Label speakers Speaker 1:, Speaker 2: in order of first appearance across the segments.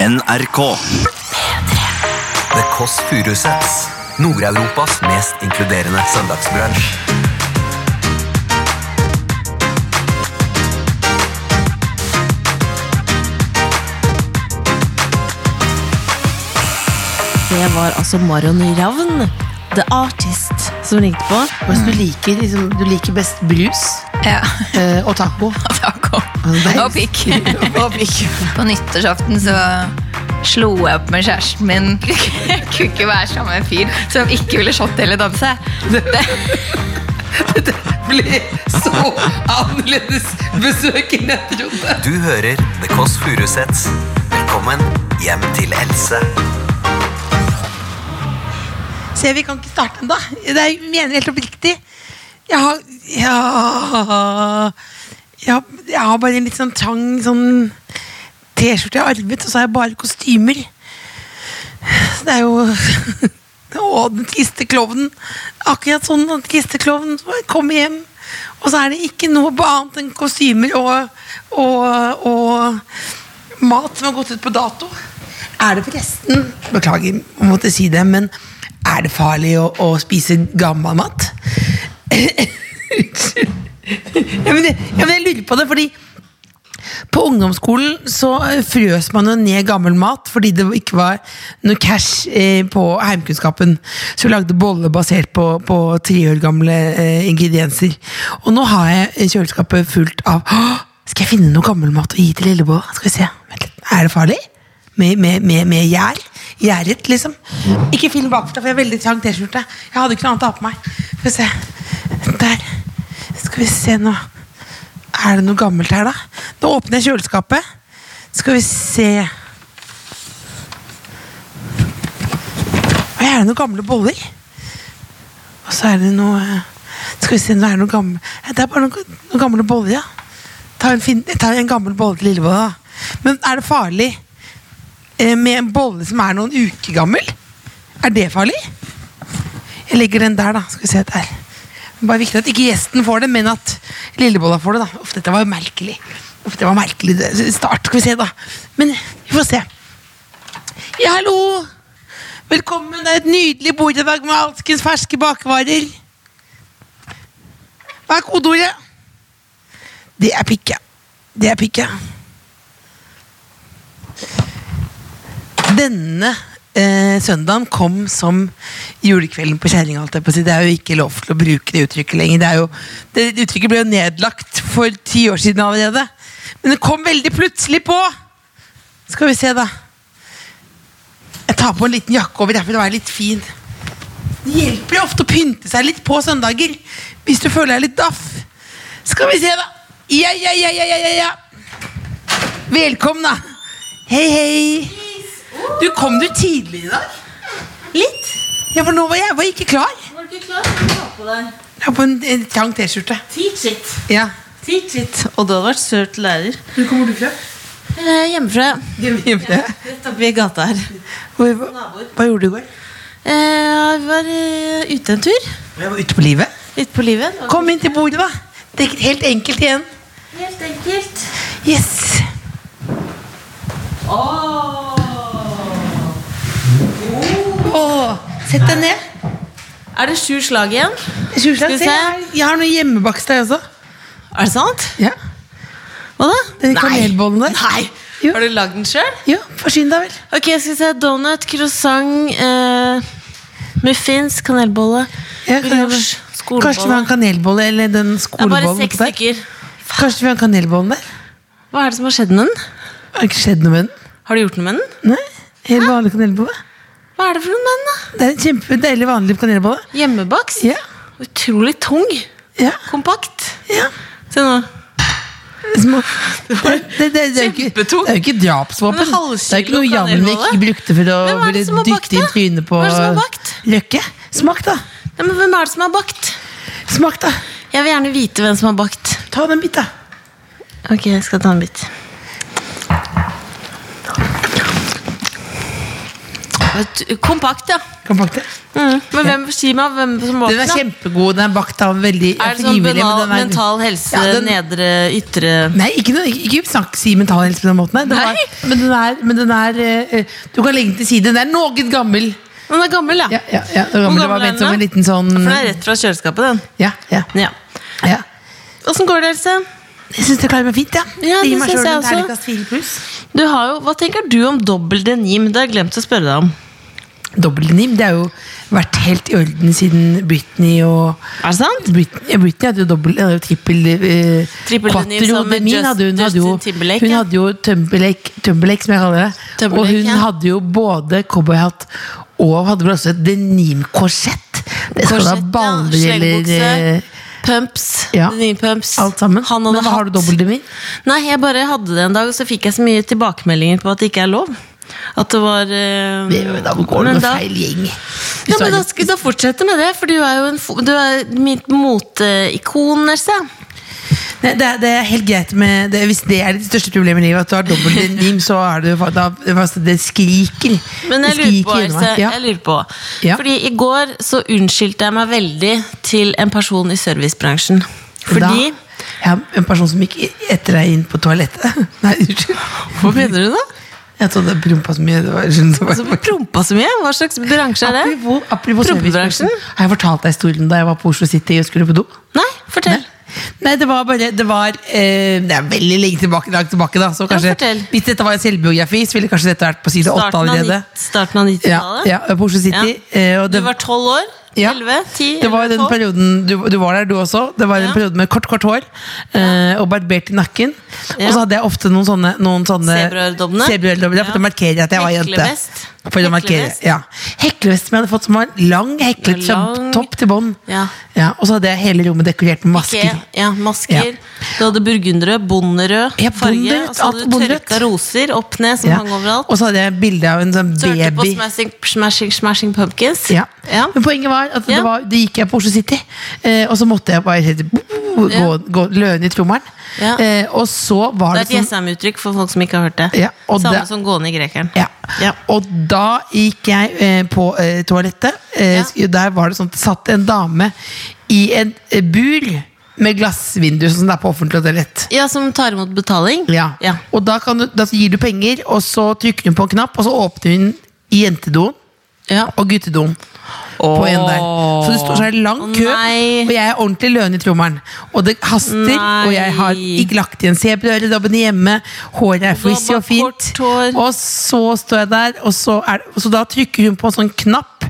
Speaker 1: NRK.
Speaker 2: The Kåss Furuseths. Nord-Europas mest inkluderende søndagsbransj.
Speaker 3: Det var altså Marion Ravn, The Artist, som ringte på.
Speaker 4: Hvis du liker, liksom, du liker best brus
Speaker 5: Ja,
Speaker 4: eh, og taco.
Speaker 5: takk. Og
Speaker 4: Det er-
Speaker 5: og pikk.
Speaker 4: og pikk.
Speaker 5: På nyttårsaften så slo jeg opp med kjæresten min. Jeg kunne ikke være sammen med en fyr som ikke ville shotte eller danse.
Speaker 6: blir så annerledes besøk enn jeg trodde.
Speaker 2: Du hører The Kåss Furuseths. Velkommen hjem til Else.
Speaker 4: Se, vi kan ikke starte ennå. Jeg mener helt oppriktig. Jeg har ja, jeg, har- jeg har bare en litt sånn trang sånn T-skjorte jeg har arvet, og så har jeg bare kostymer. Så Det er jo Å, den triste klovnen. Akkurat sånn den triste klovnen som kommer hjem. Og så er det ikke noe annet enn kostymer og, og, og mat som har gått ut på dato. Er det forresten Beklager å måtte si det, men er det farlig å, å spise gammel mat? Unnskyld. ja, men, jeg- ja, men jeg lurer på det, fordi på ungdomsskolen så eh, frøs man jo ned gammel mat fordi det ikke var noe cash eh, på heimkunnskapen. Så vi lagde boller basert på, på tre år gamle eh, ingredienser. Og nå har jeg eh, kjøleskapet fullt av «Åh, Skal jeg finne noe gammel mat å gi til lillebolla? Skal vi se. Vent litt. Er det farlig? Med, med, med, med gjær? Gjæret, liksom. Ikke film bakfra, for jeg har veldig trang T-skjorte. Jeg hadde ikke noe annet å ha på meg. Skal vi se. Der. Skal vi se nå. Er det noe gammelt her, da? Nå åpner jeg kjøleskapet. Skal vi se Oi, Er det noen gamle boller? Og så er det noe eh, Skal vi se, nå er det noe gamle Nei, Det er bare noen, noen gamle boller, ja. Ta en, fin, ta en gammel bolle til lillebolla, da. Men er det farlig eh, med en bolle som er noen uker gammel? Er det farlig? Jeg legger den der, da. Skal vi se der. Bare viktig at ikke gjesten får det, men at lillebolla får det. da. Uff, dette var jo merkelig. Uff, det var merkelig det- start. Skal vi se, da. Men vi får se. Ja, hallo! Velkommen. Det er et nydelig bord i dag med alskens ferske bakvarer. Hva er kodeordet? Det er pikke. Det er pikke. denne eh, søndagen kom som julekvelden på kjerringa. holdt jeg på å si. Det er jo ikke lov til å bruke det uttrykket lenger. Det, er jo, det uttrykket ble jo nedlagt for ti år siden allerede. Men det kom veldig plutselig på! Skal vi se, da. Jeg tar på en liten jakke over her for å være litt fin. Det hjelper jo ofte å pynte seg litt på søndager hvis du føler deg litt daff. Skal vi se, da. Ja, ja, ja, ja, ja, ja, ja. Velkommen, da. Hei, hei. Du, kom du tidlig i dag? Litt. Ja, for nå var jeg var ikke klar.
Speaker 3: Var du ikke klar til å ta på deg?
Speaker 4: Jeg har på en, en trang T-skjorte.
Speaker 3: Teach it.
Speaker 4: Ja.
Speaker 3: Teach it. Og du hadde vært søt lærer.
Speaker 4: Hvor kommer du fra?
Speaker 3: Eh, hjemmefra.
Speaker 4: Hjemme.
Speaker 3: Rett oppi gata her.
Speaker 4: Hvor, hva, hva gjorde du i går?
Speaker 3: Eh, vi var eh, ute en tur.
Speaker 4: Jeg var ute på livet.
Speaker 3: Ute på livet. Det var
Speaker 4: Kom inn til bordet, da. Det er helt enkelt igjen.
Speaker 3: Helt enkelt.
Speaker 4: Yes. Åh, Sett deg ned.
Speaker 3: Er det sju slag igjen?
Speaker 4: Skal
Speaker 3: vi se?
Speaker 4: Jeg har noe hjemmebakst der også.
Speaker 3: Er det sant?
Speaker 4: Ja.
Speaker 3: Hva da?
Speaker 4: Den kanelbollen der.
Speaker 3: Nei.
Speaker 4: Jo.
Speaker 3: Har du lagd den sjøl?
Speaker 4: Ja, forsyn deg vel.
Speaker 3: Ok, skal vi se. Donut, croissant, eh, muffins, kanelbolle,
Speaker 4: Ja,
Speaker 3: brioche, skolebolle.
Speaker 4: Kanskje vi har en kanelbolle eller den
Speaker 3: Det er bare
Speaker 4: skolebollen
Speaker 3: seks
Speaker 4: der.
Speaker 3: stykker.
Speaker 4: Kanskje vi har en kanelbollen der?
Speaker 3: Hva er det som har skjedd med den?
Speaker 4: Har ikke skjedd noe med den?
Speaker 3: Har du gjort noe med den?
Speaker 4: Nei, Helt vanlig kanelbolle.
Speaker 3: Hva er det for noe med den, da?
Speaker 4: Det er en kjempedeilig vanlig kanelbolle.
Speaker 3: Hjemmebakst?
Speaker 4: Ja.
Speaker 3: Utrolig tung.
Speaker 4: Ja.
Speaker 3: Kompakt.
Speaker 4: ja.
Speaker 3: Se nå.
Speaker 4: Små. Det, det, det, det, er jo ikke,
Speaker 3: Kjempetung.
Speaker 4: det er jo ikke drapsvåpen.
Speaker 3: Men halvkilo
Speaker 4: Det er ikke noe Jannik
Speaker 3: kanelbolle.
Speaker 4: brukte for å
Speaker 3: Hvem er det
Speaker 4: ville
Speaker 3: som har bakt
Speaker 4: dytte inn
Speaker 3: det?
Speaker 4: trynet på
Speaker 3: Hvem er det som har bakt?
Speaker 4: Røkke. Smak, da.
Speaker 3: Nei, men hvem er det som har bakt?
Speaker 4: Smak da
Speaker 3: Jeg vil gjerne vite hvem som har bakt.
Speaker 4: Ta den bit, da.
Speaker 3: Ok, jeg skal ta en bit. Et- Kompakt, ja.
Speaker 4: Kan bake det.
Speaker 3: Mm. Men hvem, si meg hvem som
Speaker 4: Den er
Speaker 3: våkna.
Speaker 4: kjempegod. Den er bakt av veldig jeg
Speaker 3: Er det
Speaker 4: fikk
Speaker 3: sånn
Speaker 4: ivrig, men
Speaker 3: banal,
Speaker 4: den er-
Speaker 3: mental helse,
Speaker 4: Ja, den-
Speaker 3: nedre, ytre
Speaker 4: Nei, ikke, noe, ikke, ikke snakk, si mental helse på den måten. Her. Den
Speaker 5: Nei.
Speaker 4: var, men den er, men den er eh, eh, Du kan legge den til side. Den er noe gammel.
Speaker 3: Den er gammel, ja.
Speaker 4: Ja, ja, ja, den var gammel, det var ment som en liten sånn
Speaker 3: For den er rett fra kjøleskapet, den.
Speaker 4: Ja, ja,
Speaker 3: Ja.
Speaker 4: ja.
Speaker 3: Åssen går det, Else?
Speaker 4: Jeg syns det klarer meg fint, ja. det
Speaker 3: Ja, det
Speaker 4: gir meg
Speaker 3: synes
Speaker 4: selv
Speaker 3: jeg
Speaker 4: en
Speaker 3: også.
Speaker 4: terningkast fire pluss.
Speaker 3: Du har jo, Hva tenker du om dobbel denim? Det har jeg glemt å spørre deg om.
Speaker 4: Dobbeltdenim, det har jo vært helt i orden siden Britney og
Speaker 3: Er det sant?
Speaker 4: Britney, ja, Britney hadde jo dobbelt, hadde jo trippel eh,
Speaker 3: Trippel denim
Speaker 4: quattro
Speaker 3: som med
Speaker 4: denim
Speaker 3: Just-
Speaker 4: hadde hun, hadde jo,
Speaker 3: Justin Timberlake,
Speaker 4: hun
Speaker 3: ja.
Speaker 4: hadde jo Timberlake, Timberlake, som jeg kaller det.
Speaker 3: Timberlake,
Speaker 4: og hun
Speaker 3: ja.
Speaker 4: hadde jo både cowboyhatt og hadde vel også et denimkorsett. Det skal da
Speaker 3: Korsett, ja,
Speaker 4: baller eller
Speaker 3: slengebukse,
Speaker 4: eh,
Speaker 3: Pumps.
Speaker 4: Ja.
Speaker 3: Denimpumps.
Speaker 4: alt sammen.
Speaker 3: Han hadde
Speaker 4: Men hva har du
Speaker 3: hatt.
Speaker 4: dobbeltdenim?
Speaker 3: Nei, jeg bare hadde det en dag, og så fikk jeg så mye tilbakemeldinger på at det ikke er lov. At det var eh,
Speaker 4: Da går det
Speaker 3: men
Speaker 4: med
Speaker 3: da-
Speaker 4: feil gjeng.
Speaker 3: Ja, men da, skal- da fortsetter med det, for du er jo en, fo- du er mitt moteikon, Else.
Speaker 4: Nei, det, er, det er helt greit med det, Hvis det er ditt største problem i livet, at du har dobbelt denim, så er det, jo- da, det skriker.
Speaker 3: Men
Speaker 4: Det
Speaker 3: jeg lurer på,
Speaker 4: skriker gjennom
Speaker 3: Else,
Speaker 4: meg. ja.
Speaker 3: jeg lurer på.
Speaker 4: Ja.
Speaker 3: Fordi i går så unnskyldte jeg meg veldig til en person i servicebransjen. Fordi
Speaker 4: da, Jeg er en person som gikk etter deg inn på toalettet. Nei, unnskyld.
Speaker 3: Hvor begynner du nå?
Speaker 4: Jeg trodde jeg prompa så mye. Det var, det var,
Speaker 3: Så prompa så mye? Hva slags bransje er det?
Speaker 4: apropos apropos
Speaker 3: Prompebransjen?
Speaker 4: servicebransjen. Har jeg fortalt deg historien da jeg var på Oslo City og skulle på do?
Speaker 3: Nei, fortell.
Speaker 4: Nei, det var bare Det var eh, Det er veldig lenge tilbake, langt tilbake, da. Så kanskje,
Speaker 3: fortell.
Speaker 4: hvis dette var en selvbiografi, så ville kanskje dette vært på side åtte
Speaker 3: Starten av,
Speaker 4: allerede.
Speaker 3: nitt- starten av
Speaker 4: Ja,
Speaker 3: 90-tallet?
Speaker 4: ja, på Oslo City.
Speaker 3: Ja.
Speaker 4: eh, og
Speaker 3: Du
Speaker 4: det-
Speaker 3: var tolv år?
Speaker 4: Ja.
Speaker 3: Elleve? Ti?
Speaker 4: Det var jo den perioden du, du var der, du også. Det var en
Speaker 3: Ja.
Speaker 4: periode med kort, kort hår eh, og barbert i nakken. Og
Speaker 3: Ja.
Speaker 4: så hadde jeg ofte noen sånne, noen sånne
Speaker 3: Zebraøredobbene.
Speaker 4: zebraøredobbene, ja, For
Speaker 3: Ja.
Speaker 4: å markere at jeg var jente.
Speaker 3: Heklevest.
Speaker 4: For å markere,
Speaker 3: Heklevest.
Speaker 4: ja. Heklevest som jeg hadde fått, som var lang, heklet fra
Speaker 3: Lang.
Speaker 4: topp til bånn.
Speaker 3: Ja.
Speaker 4: Ja, og så hadde jeg hele rommet dekorert med masker.
Speaker 3: Ja, masker.
Speaker 4: Ja.
Speaker 3: Du hadde burgunderrød, bonderød
Speaker 4: Ja,
Speaker 3: farge.
Speaker 4: bonderødt,
Speaker 3: Og så hadde
Speaker 4: alt
Speaker 3: du
Speaker 4: bonderødt.
Speaker 3: tørka roser opp ned som
Speaker 4: Ja.
Speaker 3: hang overalt.
Speaker 4: Og så hadde jeg bilde av en sånn
Speaker 3: Så hørte du på
Speaker 4: baby.
Speaker 3: Smashing, smashing, smashing Pumpkins.
Speaker 4: Ja.
Speaker 3: Ja.
Speaker 4: Men poenget var at
Speaker 3: Ja.
Speaker 4: det, var, det gikk jeg på Oslo City, eh, og så måtte jeg bare helt, gå,
Speaker 3: Ja.
Speaker 4: gå, løne i trommelen.
Speaker 3: Ja.
Speaker 4: Eh, og så var
Speaker 3: Det er
Speaker 4: det, sånn-
Speaker 3: et Jessheim-uttrykk for folk som ikke har hørt det.
Speaker 4: Ja, og
Speaker 3: Samme
Speaker 4: det-
Speaker 3: som gående i grekeren.
Speaker 4: Ja.
Speaker 3: Ja.
Speaker 4: Og da gikk jeg eh, på eh, toalettet. Eh,
Speaker 3: Ja.
Speaker 4: sk- Der var det sånn at det satt en dame i en eh, bur med glassvindu, sånn som det er på offentlig toalett.
Speaker 3: Ja, som tar imot betaling.
Speaker 4: Ja.
Speaker 3: Ja.
Speaker 4: Og da, kan du, da gir du penger, og så trykker hun på en knapp, og så åpner hun i jentedoen
Speaker 3: Ja.
Speaker 4: og guttedoen. På en der. Så det står så er det lang
Speaker 3: Å,
Speaker 4: kø,
Speaker 3: nei.
Speaker 4: og jeg er ordentlig løne i trommelen. Og det haster,
Speaker 3: Nei.
Speaker 4: og jeg har ikke lagt igjen zebraøredobbene hjemme. Håret er frizzy
Speaker 3: bare
Speaker 4: og fint.
Speaker 3: kort hår.
Speaker 4: Og så står jeg der, og så, er, det- så da trykker hun på en sånn knapp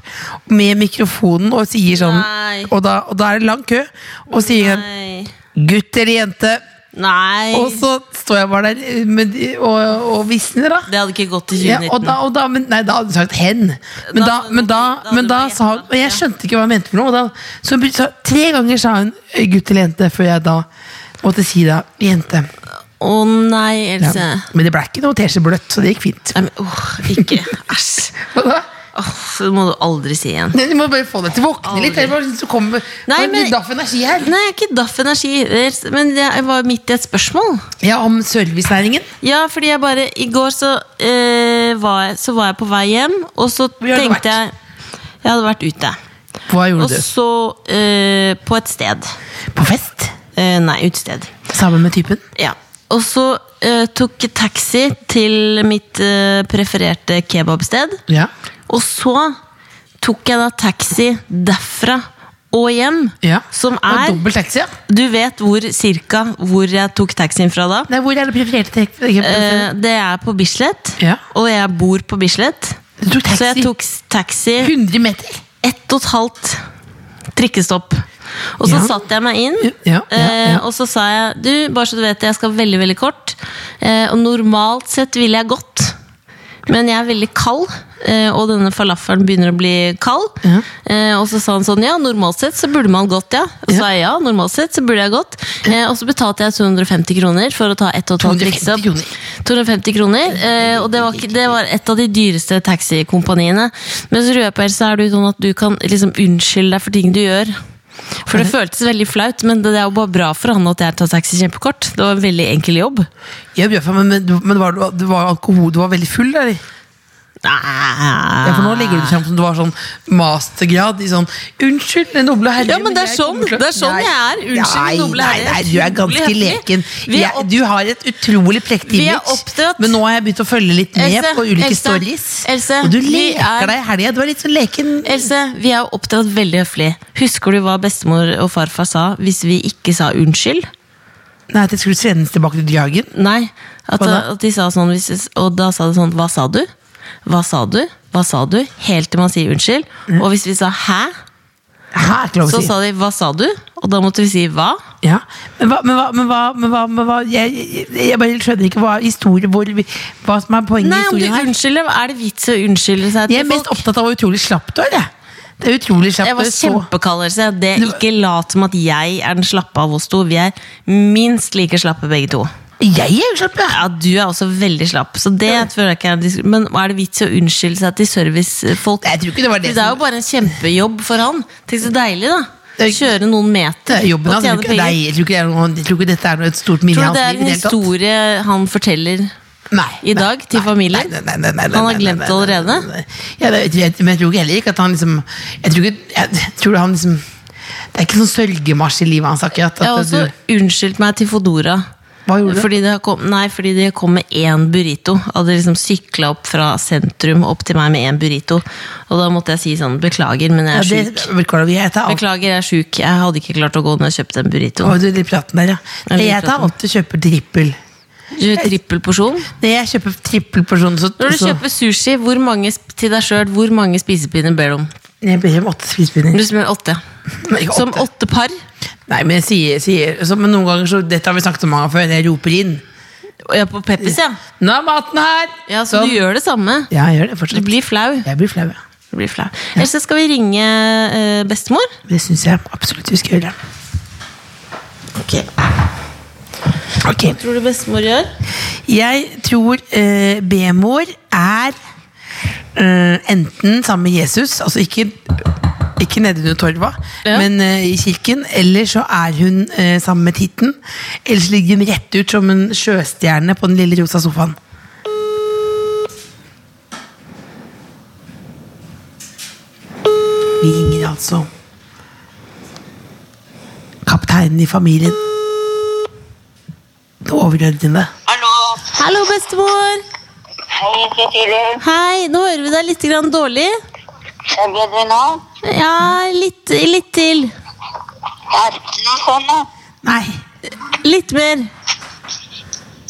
Speaker 4: med mikrofonen og sier sånn
Speaker 3: Nei.
Speaker 4: og da, og da er det lang kø, og sier hun
Speaker 3: Nei.
Speaker 4: gutt eller jente.
Speaker 3: Nei.
Speaker 4: Og så står jeg bare der med, de- og, og visner, da.
Speaker 3: Det hadde ikke gått i
Speaker 4: Ja,
Speaker 3: 2019.
Speaker 4: og da, og da, men, nei, da hadde du sagt 'hen'. Men da, men da, men da sa hun Og jeg skjønte ikke hva hun mente. for noe og da, så hun, brukte- sa- Tre ganger sa hun 'gutt eller jente' før jeg da måtte si da 'jente'.
Speaker 3: Å nei,
Speaker 4: Ja.
Speaker 3: Else.
Speaker 4: Men det ble ikke noe teskjebløtt, så det gikk fint.
Speaker 3: Nei, men, åh, ikke. Æsj.
Speaker 4: Hva da?
Speaker 3: Åh, det må du aldri si igjen.
Speaker 4: Du må bare få deg til å våkne litt. liksom
Speaker 3: Aldri.
Speaker 4: Jeg bare synes du kommer
Speaker 3: Nei,
Speaker 4: bare
Speaker 3: men-
Speaker 4: litt daff energi her.
Speaker 3: Nei, jeg er ikke daff energi, men jeg var midt i et spørsmål.
Speaker 4: Ja, Om servicenæringen.
Speaker 3: Ja, fordi jeg bare I går så, eh, var, jeg, så var jeg på vei hjem, og så
Speaker 4: Hvor har du vært?
Speaker 3: tenkte jeg Jeg hadde vært ute.
Speaker 4: Hva gjorde
Speaker 3: Og
Speaker 4: du?
Speaker 3: så eh, på et sted.
Speaker 4: På fest?
Speaker 3: Eh, nei, utested.
Speaker 4: Sammen med typen?
Speaker 3: Ja. Og så eh, tok jeg taxi til mitt eh, prefererte kebabsted.
Speaker 4: Ja.
Speaker 3: Og så tok jeg da taxi derfra og hjem,
Speaker 4: ja.
Speaker 3: som
Speaker 4: Det var
Speaker 3: er
Speaker 4: Dobbel taxi, ja.
Speaker 3: Du vet hvor cirka hvor jeg tok taxien fra da?
Speaker 4: Nei, hvor er det prefererte
Speaker 3: Eh, det er på Bislett,
Speaker 4: Ja.
Speaker 3: og jeg bor på Bislett.
Speaker 4: Du tok
Speaker 3: Så
Speaker 4: taxi?
Speaker 3: jeg tok s- taxi
Speaker 4: 100 meter?
Speaker 3: ett og et halvt trikkestopp. Og så
Speaker 4: Ja.
Speaker 3: satte jeg meg inn,
Speaker 4: Ja, ja,
Speaker 3: eh,
Speaker 4: ja.
Speaker 3: og så sa jeg Du, bare så du vet, jeg skal veldig, veldig kort. Eh, og normalt sett ville jeg gått, men jeg er veldig kald. eh, Og denne falafelen begynner å bli kald.
Speaker 4: Ja.
Speaker 3: Eh, og så sa han sånn Ja, normalt sett så burde man gått, ja. Og så sa jeg ja, normalt sett så burde jeg gått. Eh, og så betalte jeg 250 kroner for å ta ett og et halvt
Speaker 4: 250
Speaker 3: trikkestopp.
Speaker 4: kroner.
Speaker 3: 250 kroner. Eh, og det var, ikke, det var et av de dyreste taxikompaniene. Men så røper jeg, så er det jo sånn at du kan liksom unnskylde deg for ting du gjør. For det føltes veldig flaut, men det er jo bare bra for han at jeg tar taxi kjempekort. Det var en veldig enkel jobb.
Speaker 4: Ja, Bjørfa, men, men, du- men var, du, du var alkohol, du var veldig full, eller? Ja,
Speaker 3: Ah.
Speaker 4: for nå legger du det frem som du var sånn mastergrad i sånn Unnskyld, den noble herre.
Speaker 3: Ja, men det er
Speaker 4: jeg
Speaker 3: sånn-
Speaker 4: kommer til å-"
Speaker 3: det er sånn
Speaker 4: Nei,
Speaker 3: jeg er. Unnskyld,
Speaker 4: nei,
Speaker 3: noble herre.
Speaker 4: Nei, nei, du er ganske
Speaker 3: Utrolig
Speaker 4: leken.
Speaker 3: høflig. Vi er
Speaker 4: Jeg-
Speaker 3: opp-
Speaker 4: du har et utrolig prektig
Speaker 3: Vi er
Speaker 4: image,
Speaker 3: oppdratt.
Speaker 4: men nå har jeg begynt å følge litt med
Speaker 3: Else,
Speaker 4: på ulike
Speaker 3: Else,
Speaker 4: stories.
Speaker 3: Else,
Speaker 4: og du
Speaker 3: vi
Speaker 4: leker
Speaker 3: er-
Speaker 4: deg i helga. Du er litt sånn leken.
Speaker 3: Else, vi er jo oppdratt veldig høflig. Husker du hva bestemor og farfar sa hvis vi ikke sa unnskyld?
Speaker 4: Nei, at jeg skulle sendes tilbake til Dragen.
Speaker 3: Nei. At,
Speaker 4: Hva da?
Speaker 3: at de sa sånn, hvis, og da sa det sånn Hva sa du? Hva sa du? Hva sa du? Helt til man sier unnskyld.
Speaker 4: Mm.
Speaker 3: Og hvis vi sa hæ,
Speaker 4: Her er ikke lov å
Speaker 3: så
Speaker 4: si.
Speaker 3: sa de hva sa du? Og da måtte vi si hva?
Speaker 4: Ja, men hva, men hva, men hva, men hva, men hva jeg, jeg, jeg bare skjønner ikke hva, historie, hvor, vi- hva som er poenget
Speaker 3: Nei,
Speaker 4: i
Speaker 3: om du
Speaker 4: historien her.
Speaker 3: unnskylder, er det vits å unnskylde seg
Speaker 4: Jeg er
Speaker 3: til
Speaker 4: mest
Speaker 3: folk?
Speaker 4: opptatt av hvor utrolig slapp du er. Jeg. Det er utrolig slapp.
Speaker 3: Jeg var
Speaker 4: du er så-
Speaker 3: kjempekald, Else. Det
Speaker 4: Du-
Speaker 3: Ikke lat som at jeg er den slappe av oss to. Vi er minst like slappe begge to.
Speaker 4: Jeg er jo slapp, ja.
Speaker 3: Ja, Du er også veldig slapp, så det føler jeg ikke er en diskus- Men er det vits i å unnskylde seg til servicefolk?
Speaker 4: Nei, jeg tror ikke det var det
Speaker 3: Det er
Speaker 4: som-
Speaker 3: jo bare en kjempejobb for han. Tenk så deilig, da.
Speaker 4: Det er ikke-
Speaker 3: Kjøre noen meter
Speaker 4: Det er jobben
Speaker 3: og
Speaker 4: hans. Jeg
Speaker 3: tjene
Speaker 4: tror ikke-
Speaker 3: penger.
Speaker 4: Nei, jeg tror ikke det er noe- jeg tror ikke dette er noe et stort minne i
Speaker 3: Tror
Speaker 4: hans
Speaker 3: du
Speaker 4: liv.
Speaker 3: det er en
Speaker 4: i det hele tatt.
Speaker 3: historie han forteller
Speaker 4: Nei, nei,
Speaker 3: i dag til
Speaker 4: nei,
Speaker 3: familien?
Speaker 4: Nei, nei, nei, nei, nei,
Speaker 3: Han har
Speaker 4: nei,
Speaker 3: glemt det
Speaker 4: nei, nei,
Speaker 3: allerede?
Speaker 4: nei, nei. Ja, det, jeg, men jeg tror ikke heller ikke at han liksom Jeg tror, ikke, jeg tror han liksom Det er ikke sånn sørgemarsj i livet hans akkurat. At
Speaker 3: Jeg har også
Speaker 4: du,
Speaker 3: unnskyldt meg til Fodora.
Speaker 4: Hva gjorde du?
Speaker 3: Fordi det har kom, nei, fordi det kom med én burrito. Hadde liksom sykla opp fra sentrum opp til meg med én burrito. Og da måtte jeg si sånn beklager, men jeg
Speaker 4: ja,
Speaker 3: er
Speaker 4: det,
Speaker 3: syk.
Speaker 4: beklager, vi heter alt.
Speaker 3: Beklager, jeg er syk. Jeg hadde ikke klart å gå når jeg kjøpte en burrito.
Speaker 4: Å, du, den praten der, ja.
Speaker 3: Jeg
Speaker 4: Jeg,
Speaker 3: liker
Speaker 4: tar
Speaker 3: praten.
Speaker 4: alltid kjøper trippel.
Speaker 3: Du Trippel porsjon.
Speaker 4: Når jeg kjøper trippel porsjon, så,
Speaker 3: Når du
Speaker 4: så
Speaker 3: kjøper sushi, hvor mange sp- til deg sjøl, hvor mange spisepinner ber du om?
Speaker 4: Jeg ber om åtte spisepinner.
Speaker 3: Du smører åtte.
Speaker 4: Nei, ikke
Speaker 3: Som
Speaker 4: åtte.
Speaker 3: åtte par.
Speaker 4: Nei, men jeg sier, sier så, Men noen ganger så Dette har vi snakket om mange ganger før. Jeg roper inn.
Speaker 3: Og jeg er på Peppes, ja.
Speaker 4: Nå er maten her!
Speaker 3: ja så
Speaker 4: Sånn.
Speaker 3: du gjør det samme.
Speaker 4: Ja, jeg gjør det
Speaker 3: Du
Speaker 4: fortsatt.
Speaker 3: blir flau.
Speaker 4: Jeg blir flau, ja.
Speaker 3: Du blir flau. Ellers så skal vi ringe eh, bestemor.
Speaker 4: Det syns jeg absolutt vi skal gjøre. Ok.
Speaker 3: Tror du bestemor gjør?
Speaker 4: Jeg tror eh, B-mor er eh, enten sammen med Jesus, altså ikke ikke nede under torva,
Speaker 3: Ja.
Speaker 4: men eh, i kirken. Eller så er hun eh, sammen med Titten. Eller så ligger hun rett ut som en sjøstjerne på den lille rosa sofaen. Vi ringer altså kapteinen i familien. Overordnede.
Speaker 1: Hallo.
Speaker 3: Hallo, bestemor!
Speaker 1: Hei, Cecilie.
Speaker 3: Hei, nå hører vi deg litt grann dårlig.
Speaker 1: Er det bedre nå?
Speaker 3: Ja, litt, litt til.
Speaker 1: Er det noe sånn nå?
Speaker 4: Nei,
Speaker 3: Litt mer.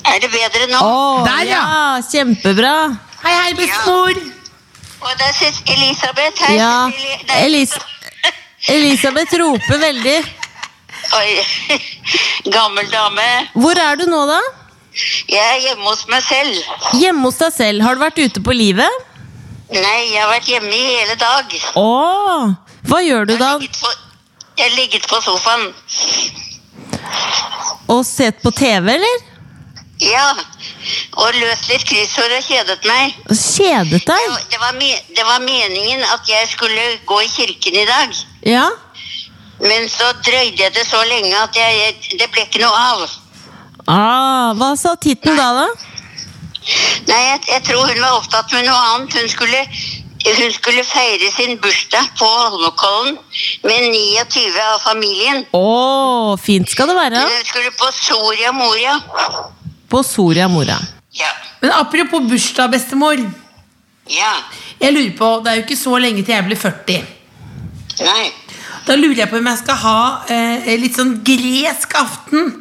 Speaker 1: Er det bedre nå?
Speaker 3: Å,
Speaker 4: Der,
Speaker 3: ja!
Speaker 4: ja.
Speaker 3: Kjempebra.
Speaker 4: Hei, hei, bestemor!
Speaker 1: Og det er Sis- Elisabeth her.
Speaker 3: Ja.
Speaker 1: Cecilie. Nei,
Speaker 3: Elis Elisabeth roper veldig.
Speaker 1: Oi. Gammel dame.
Speaker 3: Hvor er du nå, da?
Speaker 1: Jeg er hjemme hos meg selv.
Speaker 3: Hjemme hos deg selv. Har du vært ute på livet?
Speaker 1: Nei, jeg har vært hjemme i hele dag.
Speaker 3: Å! Hva gjør du da?
Speaker 1: Ligget på- Jeg har ligget på sofaen.
Speaker 3: Og sett på TV, eller?
Speaker 1: Ja. Og løst litt kryssord og kjedet meg.
Speaker 3: Kjedet
Speaker 1: Det
Speaker 3: deg?
Speaker 1: var- Det var, me det var meningen at jeg skulle gå i kirken i dag.
Speaker 3: Ja.
Speaker 1: Men så drøyde jeg det så lenge at jeg, jeg, det ble ikke noe av.
Speaker 3: Ah, hva sa titten da, da?
Speaker 1: Nei, jeg, jeg tror hun var opptatt med noe annet. Hun skulle, hun skulle feire sin bursdag på Holmenkollen med 29 av familien.
Speaker 3: Å, fint skal det være.
Speaker 1: Hun skulle på Soria Moria.
Speaker 3: På Soria Moria.
Speaker 1: Ja.
Speaker 4: Men apropos bursdag, bestemor.
Speaker 1: Ja.
Speaker 4: Jeg lurer på, Det er jo ikke så lenge til jeg blir 40.
Speaker 1: Nei.
Speaker 4: Da lurer jeg på om jeg skal ha eh, litt sånn gresk aften.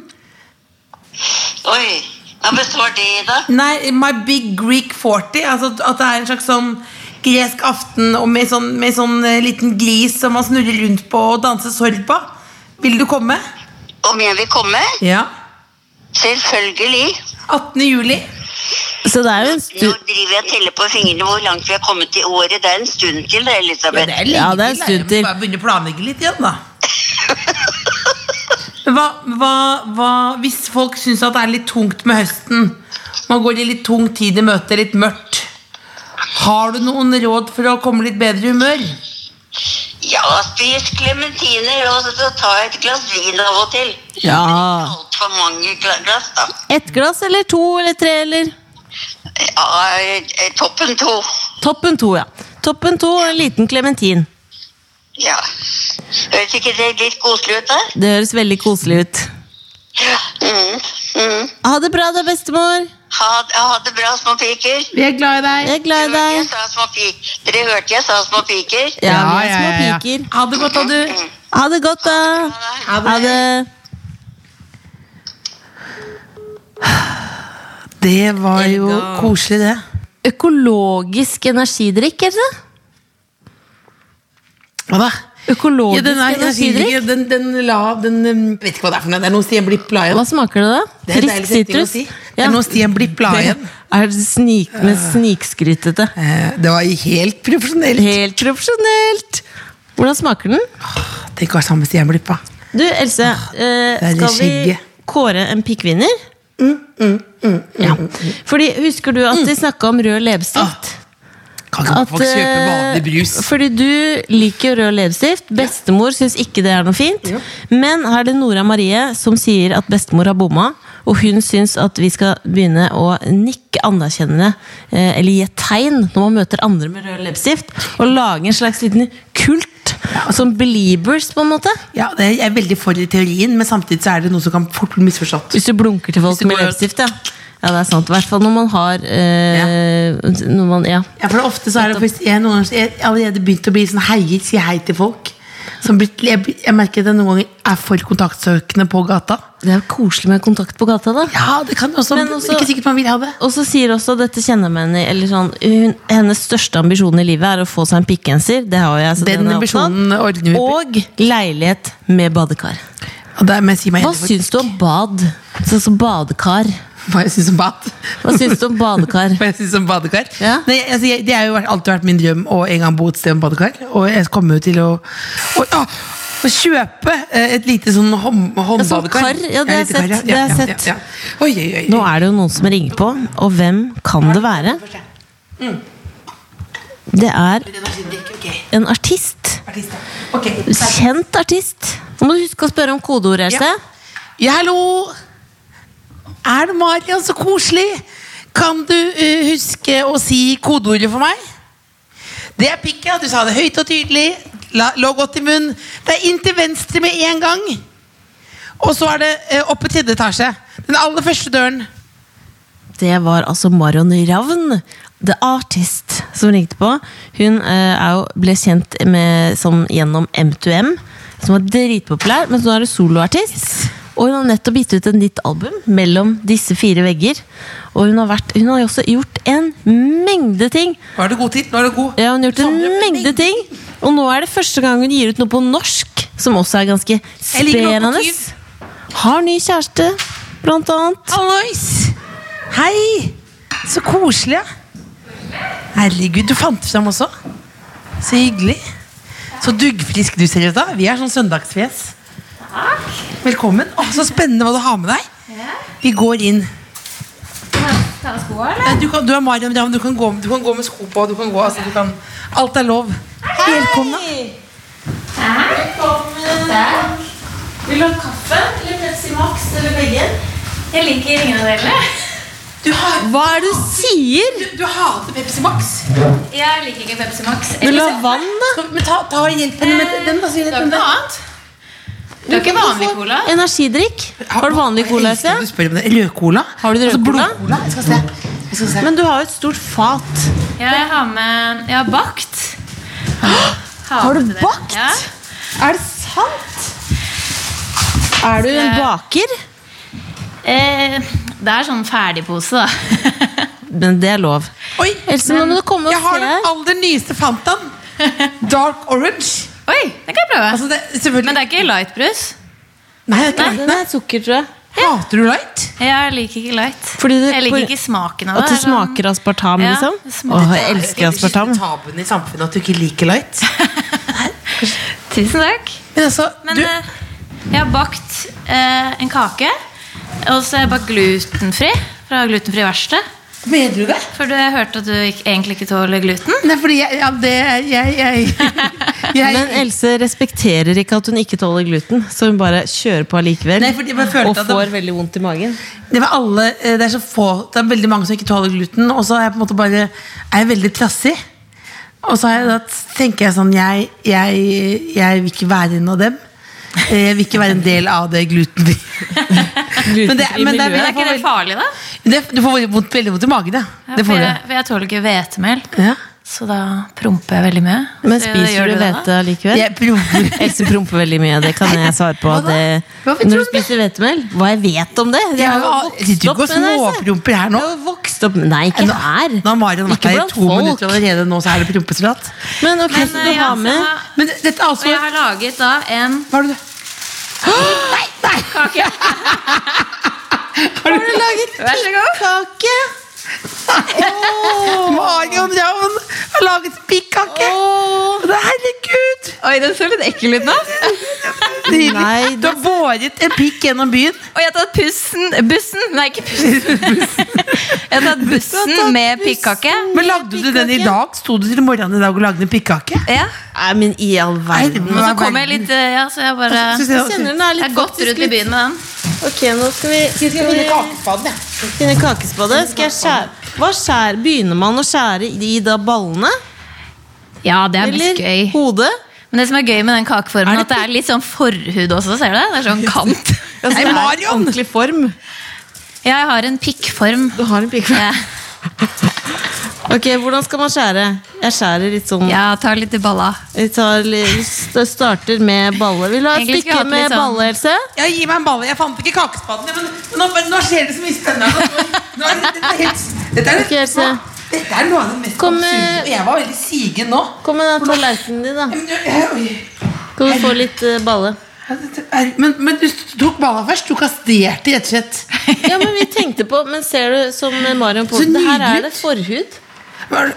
Speaker 1: Oi. Hva består det i, da?
Speaker 4: Nei, My Big Greek 40. Altså at- at det er en slags sånn gresk aften og med sånn, med sånn eh, liten gris som man snurrer rundt på og danser sorg på. Vil du komme?
Speaker 1: Om jeg vil komme?
Speaker 4: Ja.
Speaker 1: Selvfølgelig.
Speaker 4: 18. juli.
Speaker 3: Så det er jo en
Speaker 1: Nå
Speaker 3: stund
Speaker 1: driver jeg og teller på fingrene hvor langt vi har kommet i året. Det er en stund til, det, Elisabeth.
Speaker 4: lenge
Speaker 3: Ja, det er en
Speaker 4: til, da.
Speaker 3: stund til.
Speaker 4: Jeg må bare begynne å planlegge litt igjen, da. Men Hva, hva, hva, hvis folk syns at det er litt tungt med høsten, man går i litt tung tid i møte, litt mørkt, har du noen råd for å komme litt bedre i humør?
Speaker 1: Ja, spis klementiner og så så ta et glass vin av og til.
Speaker 3: Ja.
Speaker 1: Altfor mange gla- glass, da.
Speaker 3: Ett glass eller to eller tre eller
Speaker 1: Ja, eh, toppen to.
Speaker 3: Toppen to, ja. Toppen to og en liten klementin.
Speaker 1: Ja. Høres ikke det litt koselig ut, da?
Speaker 3: Det høres veldig koselig ut.
Speaker 1: Mm. Mm.
Speaker 3: Ha det bra da, bestemor.
Speaker 1: Ha, ha det bra, små piker.
Speaker 4: Vi er glad i deg.
Speaker 3: Jeg er glad i
Speaker 1: Dere hørte jeg
Speaker 3: deg.
Speaker 1: sa små pi- Dere hørte jeg sa små piker?
Speaker 3: Ja, vi er
Speaker 4: ja,
Speaker 3: små
Speaker 4: ja, ja.
Speaker 3: piker.
Speaker 4: Ha det godt, da, du.
Speaker 3: Ha det godt, da. Ha det.
Speaker 4: Det var jo koselig, det.
Speaker 3: Økologisk energidrikk, er det det?
Speaker 4: Hva da?
Speaker 3: Økologisk
Speaker 4: Ja, den er
Speaker 3: energidrikk.
Speaker 4: energidrikk. Den, den la den, um, Vet ikke hva det er for noe. Det er noe Stian Blipp la
Speaker 3: Hva
Speaker 4: igjen.
Speaker 3: smaker det, da?
Speaker 4: Det er en
Speaker 3: Frisk
Speaker 4: deilig setning å
Speaker 3: sitrus?
Speaker 4: si. Det
Speaker 3: Ja.
Speaker 4: er noe Stian Blipp la igjen.
Speaker 3: Er det snik, med snikskrytete?
Speaker 4: Eh, Det var helt profesjonelt.
Speaker 3: Helt profesjonelt! Hvordan smaker den?
Speaker 4: Tenk å ha sammen med Stian Blipp, da.
Speaker 3: Du, Else, eh,
Speaker 4: Ah, det er Mm,
Speaker 3: skal vi
Speaker 4: skjegget.
Speaker 3: kåre en pikkvinner? Ja.
Speaker 4: mm,
Speaker 3: Fordi, husker du at vi snakka om rød
Speaker 4: Ah.
Speaker 3: leppestift?
Speaker 4: Kan ikke
Speaker 3: At,
Speaker 4: folk kjøpe
Speaker 3: eh,
Speaker 4: vanlig brus?
Speaker 3: Fordi du liker jo rød leppestift. Bestemor syns ikke det er noe fint. Men her er det Nora Marie som sier at bestemor har bomma. Og hun syns at vi skal begynne å nikke anerkjennende, eh, eller gi et tegn, når man møter andre med rød leppestift. Og lage en slags liten kult. Som beliebers, på en måte.
Speaker 4: Ja, det er- Jeg er veldig for i teorien, men samtidig så er det noe som kan fort bli misforstått.
Speaker 3: Hvis du blunker til folk
Speaker 4: Hvis du
Speaker 3: med
Speaker 4: går-
Speaker 3: leppestift, ja. Ja, det er sant. I hvert fall når man har eh, når man, ja.
Speaker 4: Ja, for det er ofte så er det faktisk, jeg, noen ganger, jeg har allerede begynt å bli sånn heier, si hei til folk. Som blir, jeg, blir- jeg merker at jeg noen ganger er for kontaktsøkende på gata.
Speaker 3: Det er jo koselig med kontakt på gata, da.
Speaker 4: Ja, det kan også,
Speaker 3: Men også-
Speaker 4: Ikke sikkert man vil ha det.
Speaker 3: Og så sier også dette kjenner man i- eller sånn, hun, Hennes største ambisjon i livet er å få seg en pikkgenser. Det har jo jeg, så
Speaker 4: Den
Speaker 3: den er
Speaker 4: ambisjonen
Speaker 3: opptatt.
Speaker 4: ordner vi.
Speaker 3: Og leilighet med badekar.
Speaker 4: Og der, men jeg sier meg
Speaker 3: Hva
Speaker 4: enig for-
Speaker 3: syns du om bad? Sånn som badekar.
Speaker 4: Hva jeg syns om bad?
Speaker 3: Hva syns du om badekar?
Speaker 4: Hva jeg syns om badekar?
Speaker 3: Ja.
Speaker 4: Nei, altså, jeg, det har jo vært- alltid vært min drøm å en gang bo et sted med badekar. Og jeg kommer jo til å, å, å, å kjøpe eh, et lite sånn hånd,
Speaker 3: sånn
Speaker 4: håndbadekar.
Speaker 3: kar, ja, det har jeg
Speaker 4: lite kar,
Speaker 3: sett, det har jeg sett.
Speaker 4: ja. Oi, oi, oi.
Speaker 3: Nå er det jo noen som ringer på, og hvem kan det være? Det er en artist.
Speaker 4: Ok.
Speaker 3: Kjent artist. Nå må du huske å spørre om kodeordet, Else.
Speaker 4: Ja. Ja, hallo! Er det Marian så koselig? Kan du eh, huske å si kodeordet for meg? Det er pikk, ja. Du sa det høyt og tydelig. La, lå godt i munnen. Det er inn til venstre med en gang. Og så er det eh, opp i tredje etasje. Den aller første døren.
Speaker 3: Det var altså Marion Ravn, The Artist, som ringte på. Hun eh, er jo, ble kjent med, som, gjennom M2M, som var dritpopulær, men så er hun soloartist. Og hun har nettopp gitt ut et nytt album, 'Mellom disse fire vegger'. Og hun har, vært, hun har jo også gjort en mengde ting.
Speaker 4: Nå er du god tid. Nå er du god.
Speaker 3: Sånn, Ja, hun har gjort en
Speaker 4: Samle
Speaker 3: mengde ting Og nå er det første gang hun gir ut noe på norsk, som også er ganske
Speaker 4: liker
Speaker 3: spennende.
Speaker 4: lokomotiv.
Speaker 3: Har ny kjæreste, blant annet.
Speaker 4: Hallois! Hei! Så koselig, ja. Herregud, du fant fram også. Så hyggelig. Så duggfrisk du ser ut, da. Vi er sånn søndagsfjes. Velkommen. Å, så spennende hva du har med deg. Vi går inn. Ja, Du, kan, du er Marion Ravn. Du, kan gå- du kan gå med sko på. Du kan gå, altså, du kan, alt er lov. Velkommen. da.
Speaker 3: Vil du ha kaffe eller Pepsi Max eller begge?
Speaker 5: Jeg liker ingen av delene.
Speaker 4: Du, har,
Speaker 3: Hva er det du sier?
Speaker 4: du, du hater Pepsi Max.
Speaker 5: Jeg liker ikke Pepsi Max.
Speaker 3: Vil du ha vann, da?
Speaker 4: Skal- Men ta, ta hjelpen med den, da. så hjelp henne med den.
Speaker 5: Du har ikke vanlig cola?
Speaker 3: Energidrikk? Har du vanlig cola?
Speaker 4: Jeg elsker at
Speaker 3: Else?
Speaker 4: Du spør om det. Rødcola?
Speaker 3: Har du rødcola?
Speaker 4: Altså blodcola? Jeg skal se. Jeg skal se.
Speaker 3: Men du har jo et stort fat.
Speaker 5: Ja, jeg har med Jeg har bakt. Har,
Speaker 3: du
Speaker 5: med det.
Speaker 3: bakt?
Speaker 5: Ja.
Speaker 3: Er det sant? Er du en baker?
Speaker 5: Eh, det er sånn ferdigpose, da.
Speaker 3: Men det er lov.
Speaker 4: Oi,
Speaker 3: Else, nå må du komme
Speaker 4: jeg
Speaker 3: og
Speaker 4: har
Speaker 3: se
Speaker 4: den
Speaker 3: her.
Speaker 4: aller nyeste Fantaen. Dark orange.
Speaker 5: Oi, den kan jeg prøve.
Speaker 4: Altså det,
Speaker 5: Men
Speaker 4: selvfølgelig
Speaker 5: det er ikke lightbrus.
Speaker 4: Nei, det er ikke
Speaker 3: Den er sukker, tror jeg.
Speaker 4: Hater du light?
Speaker 5: Jeg liker ikke light.
Speaker 3: Fordi det-
Speaker 5: jeg liker ikke smaken av det.
Speaker 3: At det
Speaker 5: Det er sånn-
Speaker 3: smaker aspartam,
Speaker 5: Ja,
Speaker 3: liksom?
Speaker 5: det smaker-
Speaker 3: Åh, jeg elsker aspartam.
Speaker 4: Det er tabuen i samfunnet at du ikke liker light.
Speaker 5: Tusen takk.
Speaker 4: Men altså,
Speaker 5: Men
Speaker 4: du,
Speaker 5: eh, jeg har bakt eh, en kake. Og så har jeg bakt glutenfri fra glutenfri verksted.
Speaker 4: Mener du det?
Speaker 7: For du, jeg hørte at du ikke, egentlig ikke tåler gluten.
Speaker 5: Mm.
Speaker 4: Nei, fordi jeg ja, det, jeg, jeg, jeg
Speaker 3: Men Else respekterer ikke at hun ikke tåler gluten, så hun bare kjører på allikevel.
Speaker 4: Nei, fordi jeg bare følte
Speaker 3: Og
Speaker 4: at det-
Speaker 3: får veldig vondt i magen.
Speaker 4: det, var alle, eh, det er så få Det er veldig mange som ikke tåler gluten, og så er jeg på en måte bare Er jeg veldig trassig. Og så har jeg, da tenker jeg sånn jeg, jeg, jeg vil ikke være en av dem. Eh, Jeg vil ikke være en del av det glutenfri. Men det-
Speaker 3: Glutenfri
Speaker 4: men det er
Speaker 3: miljø.
Speaker 7: Er ikke det farlig, da?
Speaker 4: Det, du får veldig vondt, veldig vondt i magen, ja. Det
Speaker 7: for
Speaker 4: får
Speaker 7: jeg,
Speaker 4: du.
Speaker 7: for jeg tåler ikke hvetemel,
Speaker 4: Ja.
Speaker 7: så da promper jeg veldig mye.
Speaker 3: Men
Speaker 7: Så
Speaker 3: spiser
Speaker 7: Eh, gjør
Speaker 3: du
Speaker 7: det da?
Speaker 3: hvete allikevel?
Speaker 4: Jeg promper.
Speaker 3: Else promper veldig mye, det kan jeg svare på.
Speaker 4: Hva da?
Speaker 3: Det,
Speaker 4: Hva vet du
Speaker 3: når
Speaker 4: om
Speaker 3: du spiser hvetemel? Hva jeg vet om det? Jeg
Speaker 4: Jeg
Speaker 3: har jo
Speaker 4: har-
Speaker 3: vokst
Speaker 4: sitter jo
Speaker 3: opp
Speaker 4: ikke og
Speaker 3: med det, Else.
Speaker 4: småpromper her nå.
Speaker 3: Jeg har vokst opp med Nei, ikke
Speaker 4: Nå-
Speaker 3: her.
Speaker 4: Nå har Marion vært
Speaker 3: Ikke
Speaker 4: her i
Speaker 3: blant
Speaker 4: to minutter
Speaker 3: folk.
Speaker 4: allerede, nå så er det prompesprat.
Speaker 3: Men ok,
Speaker 7: Men,
Speaker 3: så du
Speaker 7: eh,
Speaker 3: har med
Speaker 7: altså,
Speaker 4: Men dette er
Speaker 7: Og
Speaker 4: altså
Speaker 7: jeg har laget da en
Speaker 4: Hva har du Nei, nei!
Speaker 7: kake.
Speaker 4: Har du laget
Speaker 7: Vær så god.
Speaker 4: kake? Marion Ravn har laget pikkake! Herregud!
Speaker 7: Oi, den så litt ekkel ut nå.
Speaker 4: Nydelig.
Speaker 3: Nei,
Speaker 4: du har båret en pikk gjennom byen.
Speaker 7: Og jeg har tatt pussen Bussen! Nei, ikke pussen. jeg har tatt bussen med pikkake.
Speaker 4: Men lagde du den i dag? Sto du til morgenen i dag og lagde en pikkake?
Speaker 7: Ja.
Speaker 3: Nei, men i all verden.
Speaker 7: Og så kom jeg litt eh, Ja, så jeg bare
Speaker 4: Så
Speaker 7: Jeg
Speaker 4: sier
Speaker 3: Jeg kjenner
Speaker 4: jeg-
Speaker 3: den er
Speaker 7: har
Speaker 3: litt
Speaker 7: gått rundt i byen med den.
Speaker 3: Ok, nå skal vi Skal vi finne kakespade? Skal jeg skjære Hva skjærer Begynner man å skjære i da ballene?
Speaker 7: Ja, det er mest
Speaker 3: Eller
Speaker 7: gøy.
Speaker 3: hodet?
Speaker 7: Men det som er gøy med den kakeformen,
Speaker 3: Er det
Speaker 7: at det er litt sånn forhud også, ser du det? Det er sånn kant.
Speaker 3: Altså, det er
Speaker 4: Marion!
Speaker 3: Ordentlig form.
Speaker 7: Jeg har en pikkform.
Speaker 3: Du har en pikkform.
Speaker 7: Ja,
Speaker 3: Ok, hvordan skal man skjære? Jeg skjærer litt sånn
Speaker 7: jeg tar litt i balla.
Speaker 3: Vi tar litt, st- starter med balle. Vil du ha et
Speaker 7: Egentlig skulle
Speaker 3: stykke
Speaker 7: jeg hatt
Speaker 3: med
Speaker 7: litt sånn-
Speaker 3: balle, Else?
Speaker 4: Ja, gi meg en balle. Jeg fant ikke kakespaden. Men, men nå, nå skjer det så mye spennende. Nå, nå er det, dette er helt, dette er,
Speaker 3: Ok, Else.
Speaker 4: dette er noe av det mest
Speaker 3: Kom, eh,
Speaker 4: absurde. Og jeg var veldig sigen nå.
Speaker 3: Kom med den tallerkenen din, da.
Speaker 4: Men, eh, oi.
Speaker 3: Skal du få litt eh, balle?
Speaker 4: Ja, dette er- Men, men du tok balla først. Du kastrerte, rett og slett.
Speaker 3: Ja, men vi tenkte på Men ser du, som Marion på
Speaker 4: Så
Speaker 3: Det her
Speaker 4: nydelig.
Speaker 3: er det forhud.
Speaker 4: Har du,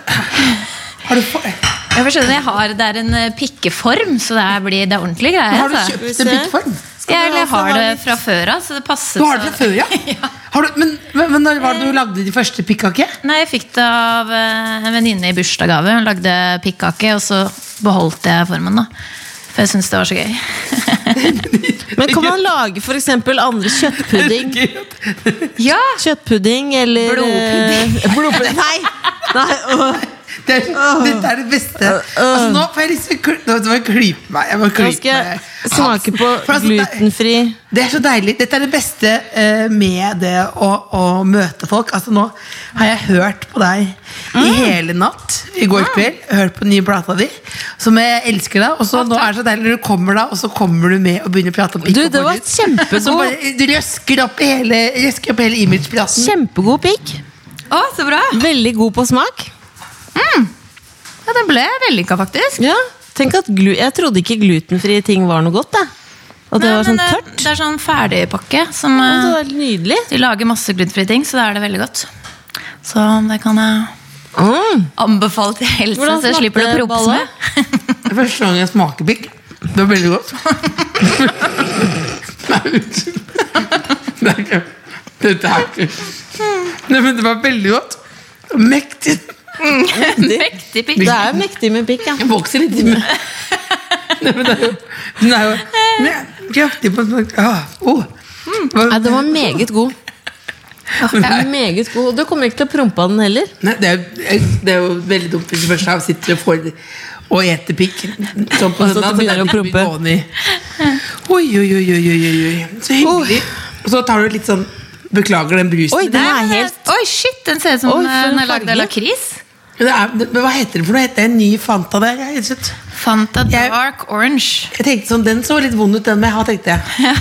Speaker 4: har du, for, har
Speaker 7: Jeg får skjønne, jeg har, det er en eh, pikkeform, så det, er, blir, det er ordentlig greie.
Speaker 4: du
Speaker 7: altså.
Speaker 3: vi
Speaker 4: kjøpt en
Speaker 3: se?
Speaker 4: pikkform?
Speaker 7: Jeg,
Speaker 3: Skal du ha-
Speaker 7: jeg har
Speaker 3: skal du
Speaker 7: det
Speaker 3: ha litt-
Speaker 7: fra før av, så det passet.
Speaker 4: Du har det fra
Speaker 7: så-
Speaker 4: før, ja? Har du, men, men, men når var
Speaker 3: Eh.
Speaker 4: det du lagde de første pikkake?
Speaker 7: Nei, jeg fikk det av eh, en venninne i bursdagsgave. Hun lagde pikkake, og så beholdt jeg formen, da. For jeg syntes det var så gøy.
Speaker 3: Men kan man lage f.eks. andre kjøttpudding?
Speaker 7: Ja!
Speaker 3: Kjøttpudding eller
Speaker 7: Blodpudding.
Speaker 3: eh, blodpudding. Nei! Nei åh.
Speaker 4: Det er, dette er det beste. Altså, nå får jeg lyst til å kl- nå må jeg klype meg. Jeg må
Speaker 3: Eh, Nå
Speaker 4: klype
Speaker 3: skal jeg
Speaker 4: meg.
Speaker 3: smake på
Speaker 4: For altså, det-
Speaker 3: glutenfri
Speaker 4: Det er så deilig. Dette er det beste eh, med det å, å møte folk. Altså Nå har jeg hørt på deg
Speaker 3: Mm.
Speaker 4: i hele natt. I går kveld. Hørt på den nye plata di, som jeg elsker. deg Og så nå er det så deilig når du kommer da Og så kommer du med og begynner å prate om pikk
Speaker 3: Du,
Speaker 4: og
Speaker 3: det var
Speaker 4: forhud.
Speaker 3: kjempegod.
Speaker 4: Så bare Du røsker opp hele, røsker opp hele imageplaten.
Speaker 3: Kjempegod pikk.
Speaker 7: Å, så bra!
Speaker 3: Veldig god på smak.
Speaker 7: Ja, Den ble vellykka, faktisk.
Speaker 3: Ja, tenk at glu Jeg trodde ikke glutenfrie ting var noe godt. Jeg. At det
Speaker 7: Nei,
Speaker 3: var
Speaker 7: men
Speaker 3: sånn tørt.
Speaker 7: Det, det er sånn ferdigpakke som
Speaker 3: Ja,
Speaker 7: eh,
Speaker 3: Det var helt nydelig.
Speaker 7: De lager masse glutenfrie ting, så da er det veldig godt. Så det kan jeg
Speaker 3: Mm.
Speaker 7: anbefale til helse,
Speaker 3: Hvordan
Speaker 7: så jeg slipper å
Speaker 3: smakte
Speaker 7: proppe så
Speaker 3: balla?
Speaker 7: mye.
Speaker 4: Det er første gang jeg smaker pikk. Det var veldig godt. Nei, unnskyld. Det er ikke Dette er ikke Nei, men det var veldig godt. Mektig.
Speaker 7: Mektig pikk.
Speaker 3: Det er jo mektig med pikk, ja.
Speaker 4: Jeg vokser litt i munnen. Nei, men det er jo Den er jo men kraftig på smak. Ah, oh.
Speaker 3: Nei,
Speaker 4: Hva-
Speaker 3: den var meget god. Meget god. Og du kommer ikke til å prompe av den heller.
Speaker 4: Nei, det, er, jo- det er jo veldig dumt hvis du først her sitter og får og eter pikk. Sånn på
Speaker 3: Og så
Speaker 4: søndag, det er
Speaker 3: begynner å
Speaker 4: litt mye
Speaker 3: prompe.
Speaker 4: gående i. Oi, oi, oi, oi, oi, oi, oi. Så hyggelig. Og så tar du litt sånn Beklager den brusen.
Speaker 3: Oi, den er helt
Speaker 7: Oi, shit, den ser ut som
Speaker 3: Oi, for
Speaker 7: eh, den
Speaker 3: en
Speaker 7: er lagd av
Speaker 3: farge.
Speaker 7: lakris.
Speaker 4: Men det er, men hva heter det for noe? Heter det en ny Fanta der? Jeg, rett og slett.
Speaker 7: Fanta
Speaker 4: Jeg-
Speaker 7: Dark Orange.
Speaker 4: jeg tenkte sånn, Den så litt vond ut, den med. Ha, tenkte jeg.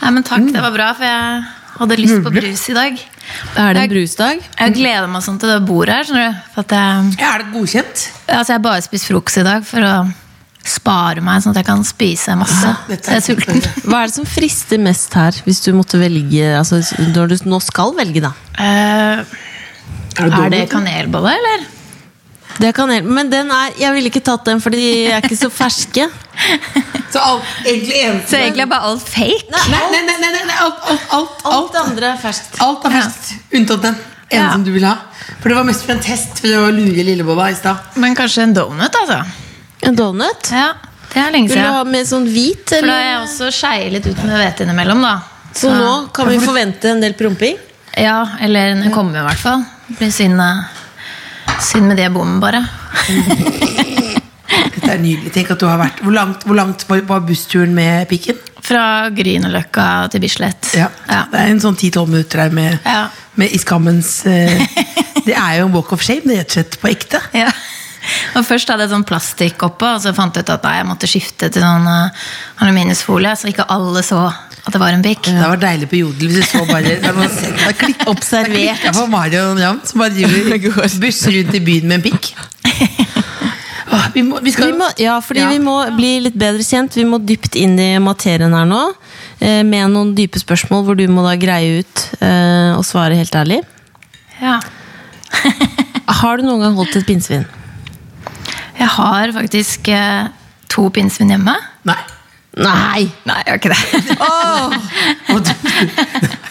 Speaker 7: Nei, men takk, det var bra, for jeg hadde lyst på brus i dag.
Speaker 3: Er det
Speaker 7: Jeg-
Speaker 3: en brusdag?
Speaker 7: Jeg gleder meg sånn til det bordet her. skjønner du? For at jeg,
Speaker 4: Ja, Er det godkjent?
Speaker 7: altså, jeg har bare spist frokost i dag for å spare meg, sånn at jeg kan spise masse. Så jeg er sulten.
Speaker 3: Hva er det som frister mest her, hvis du måtte velge altså, Når du nå skal velge, da?
Speaker 7: Eh, er det
Speaker 4: dobbelt?
Speaker 7: kanelbolle, eller?
Speaker 3: Det kan hjelpe, Men den er, jeg ville ikke tatt den, for de er ikke så ferske.
Speaker 4: Så alt, egentlig eneste
Speaker 7: Så egentlig er bare alt fake.
Speaker 4: Nei, nei, nei, nei, nei, alt, alt, alt,
Speaker 3: Alt
Speaker 4: alt,
Speaker 3: det andre er ferskt.
Speaker 4: alt er ferskt. Unntatt den. En
Speaker 5: Ja.
Speaker 4: som du vil ha. For det var mest for en test for å lure lillebolla i stad.
Speaker 7: Men kanskje en donut, altså.
Speaker 3: En donut?
Speaker 7: Ja,
Speaker 5: Det er lenge
Speaker 3: Vil du
Speaker 5: siden.
Speaker 3: ha med sånn hvit?
Speaker 7: For da har
Speaker 3: Eller?
Speaker 7: jeg også skeia litt ut med hvete innimellom, da.
Speaker 3: Så nå kan vi forvente en del promping?
Speaker 7: Ja, eller den kommer i hvert fall. Det blir synd, eh, synd med det bommen, bare.
Speaker 4: Dette er nydelig. Tenk at du har vært Hvor langt, hvor langt var, var bussturen med pikken?
Speaker 7: Fra Grünerløkka til Bislett. Ja.
Speaker 4: Det er en sånn 10-12 minutter her med,
Speaker 7: Ja.
Speaker 4: med i skammens eh, Det er jo en walk of shame, det er rett og slett på ekte.
Speaker 7: Ja. Og først hadde jeg sånn plastikk oppå, og så fant jeg ut at nei, jeg måtte skifte til sånn eh, aluminiumsfolie, så ikke alle så at det var en pikk.
Speaker 4: Det var deilig på Jodel hvis du så bare det var noen- det klikk-
Speaker 3: Observert.
Speaker 4: det klikket for Mario og Jan, som bare driver busser rundt i byen med en pikk. Åh, vi, må, vi skal
Speaker 3: Vi må, ja, fordi vi må bli litt bedre kjent. Vi må dypt inn i materien her nå. eh, Med noen dype spørsmål hvor du må da greie ut eh, og svare helt ærlig.
Speaker 7: Ja.
Speaker 3: Har du noen gang holdt et pinnsvin?
Speaker 7: Jeg har faktisk eh, to pinnsvin hjemme.
Speaker 4: Nei.
Speaker 3: Nei!
Speaker 7: Nei, jeg har ikke det.
Speaker 4: Og du-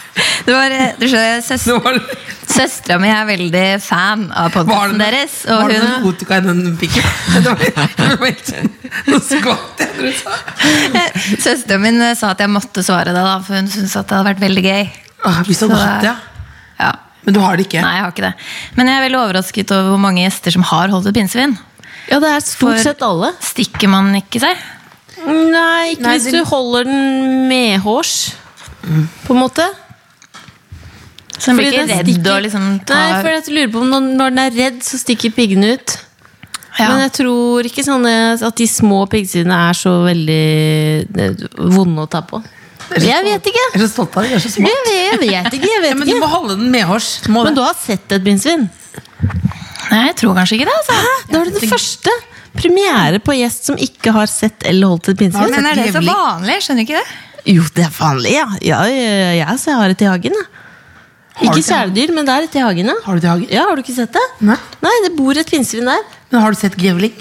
Speaker 7: Det var, eh, du skjønner, søs
Speaker 4: nå var det-
Speaker 7: Søstera mi er veldig fan
Speaker 4: var det
Speaker 7: av podkasten deres.
Speaker 4: var
Speaker 7: Og
Speaker 4: det
Speaker 7: hun,
Speaker 4: narkotika i den pikken? Det var, det var helt sånn Nå skvatt jeg når du sa
Speaker 7: søsteren min eh, sa at jeg måtte svare det, da, for hun syntes at det hadde vært veldig gøy.
Speaker 4: Åh, Vi så
Speaker 7: Så det-
Speaker 4: godt, ja.
Speaker 7: Ja.
Speaker 4: Men du har det ikke?
Speaker 7: Nei, jeg har ikke det. Men jeg er veldig overrasket over hvor mange gjester som har holdt et pinnsvin.
Speaker 3: Ja, det er stort
Speaker 7: For-
Speaker 3: sett alle.
Speaker 7: Stikker man ikke seg?
Speaker 3: Nei, Mm. ikke
Speaker 4: Nei,
Speaker 3: hvis
Speaker 4: det-
Speaker 3: du holder den medhårs, på en måte.
Speaker 7: Så den blir
Speaker 3: Fordi
Speaker 7: ikke
Speaker 3: den
Speaker 7: redd
Speaker 3: stikker-
Speaker 7: og liksom ta...
Speaker 3: Nei, for jeg lurer på om når, når den er redd, så stikker piggene ut.
Speaker 7: ja.
Speaker 3: Men jeg tror ikke sånne, at de små piggsvinene er så veldig eh, vonde å ta på. Jeg vet ikke!
Speaker 4: Jeg er så stolt av deg. Du er så smart.
Speaker 3: Jeg vet, jeg vet ikke, jeg
Speaker 4: Ja,
Speaker 3: vet
Speaker 4: men du
Speaker 3: ikke.
Speaker 4: må holde den medhårs. Du må
Speaker 3: Men
Speaker 4: det.
Speaker 3: du har sett et pinnsvin?
Speaker 7: Nei, jeg tror kanskje ikke det. Altså.
Speaker 3: Da er det den første premiere på gjest som ikke har sett eller holdt et pinnsvin.
Speaker 7: Men er det så
Speaker 4: Jævlig.
Speaker 7: vanlig? Jeg skjønner ikke det.
Speaker 3: Jo, det er vanlig, ja. ja, ja, ja så jeg har et i hagen. Ja.
Speaker 4: du
Speaker 3: Ikke
Speaker 4: det?
Speaker 3: kjæledyr, men det er et i hagen. Ja.
Speaker 4: Har du det i hagen?
Speaker 3: Ja, har du ikke sett det?
Speaker 4: Nei.
Speaker 3: det bor et pinnsvin der.
Speaker 4: Men har du sett grevling?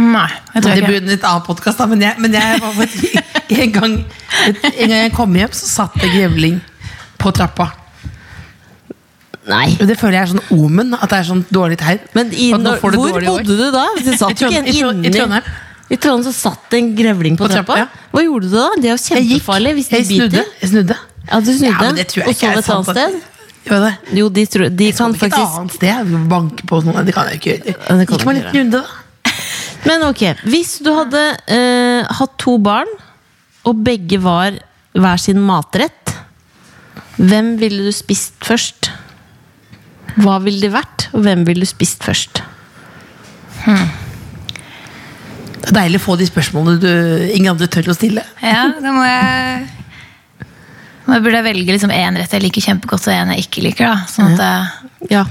Speaker 7: Nei,
Speaker 4: Det
Speaker 7: jeg tror ikke.
Speaker 4: blir en litt annen podcast da, men jeg, men jeg var faktisk en gang, et, en gang jeg kom hjem, så satt det grevling på trappa.
Speaker 3: Nei.
Speaker 4: Og det føler jeg er sånn omen, at det er sånn dårlig tegn.
Speaker 3: Men i,
Speaker 4: At nå
Speaker 3: når,
Speaker 4: får du
Speaker 3: hvor
Speaker 4: dårlig år.
Speaker 3: bodde du da? Det
Speaker 4: I
Speaker 3: satt jo ikke
Speaker 4: Trond-
Speaker 3: en
Speaker 4: i Trond- i
Speaker 3: inni-
Speaker 4: Trondheim.
Speaker 3: I Trondheim så satt det en grevling på,
Speaker 4: På trappa,
Speaker 3: trappa.
Speaker 4: ja.
Speaker 3: Hva gjorde du da? Det er jo
Speaker 4: Jeg gikk,
Speaker 3: kjempefarlig hvis de
Speaker 4: jeg snudde,
Speaker 3: biter.
Speaker 4: jeg snudde.
Speaker 3: Ja, du snudde,
Speaker 4: Ja, men det tror jeg
Speaker 3: og
Speaker 4: ikke
Speaker 3: sov
Speaker 4: er
Speaker 3: et
Speaker 4: sant,
Speaker 3: annet
Speaker 4: da.
Speaker 3: sted?
Speaker 4: Gjør det?
Speaker 3: Jo, de, tror, de kan
Speaker 4: Ikke et
Speaker 3: faktisk
Speaker 4: annet sted, banke på noen, det kan jeg ikke
Speaker 3: Ja,
Speaker 4: gjøre.
Speaker 3: det kan
Speaker 4: Gikk man
Speaker 3: du
Speaker 4: en
Speaker 3: ikke
Speaker 4: liten runde da?
Speaker 3: Men ok, hvis du hadde eh, hatt to barn, og begge var hver sin matrett, hvem ville du spist først? Hva ville det vært, og hvem ville du spist først?
Speaker 4: Det er deilig å få de spørsmålene du, ingen andre tør å stille.
Speaker 7: Ja, da må jeg Da burde jeg velge liksom én rett jeg liker kjempegodt, og én jeg ikke liker. da Sånn at eh,
Speaker 3: Ja.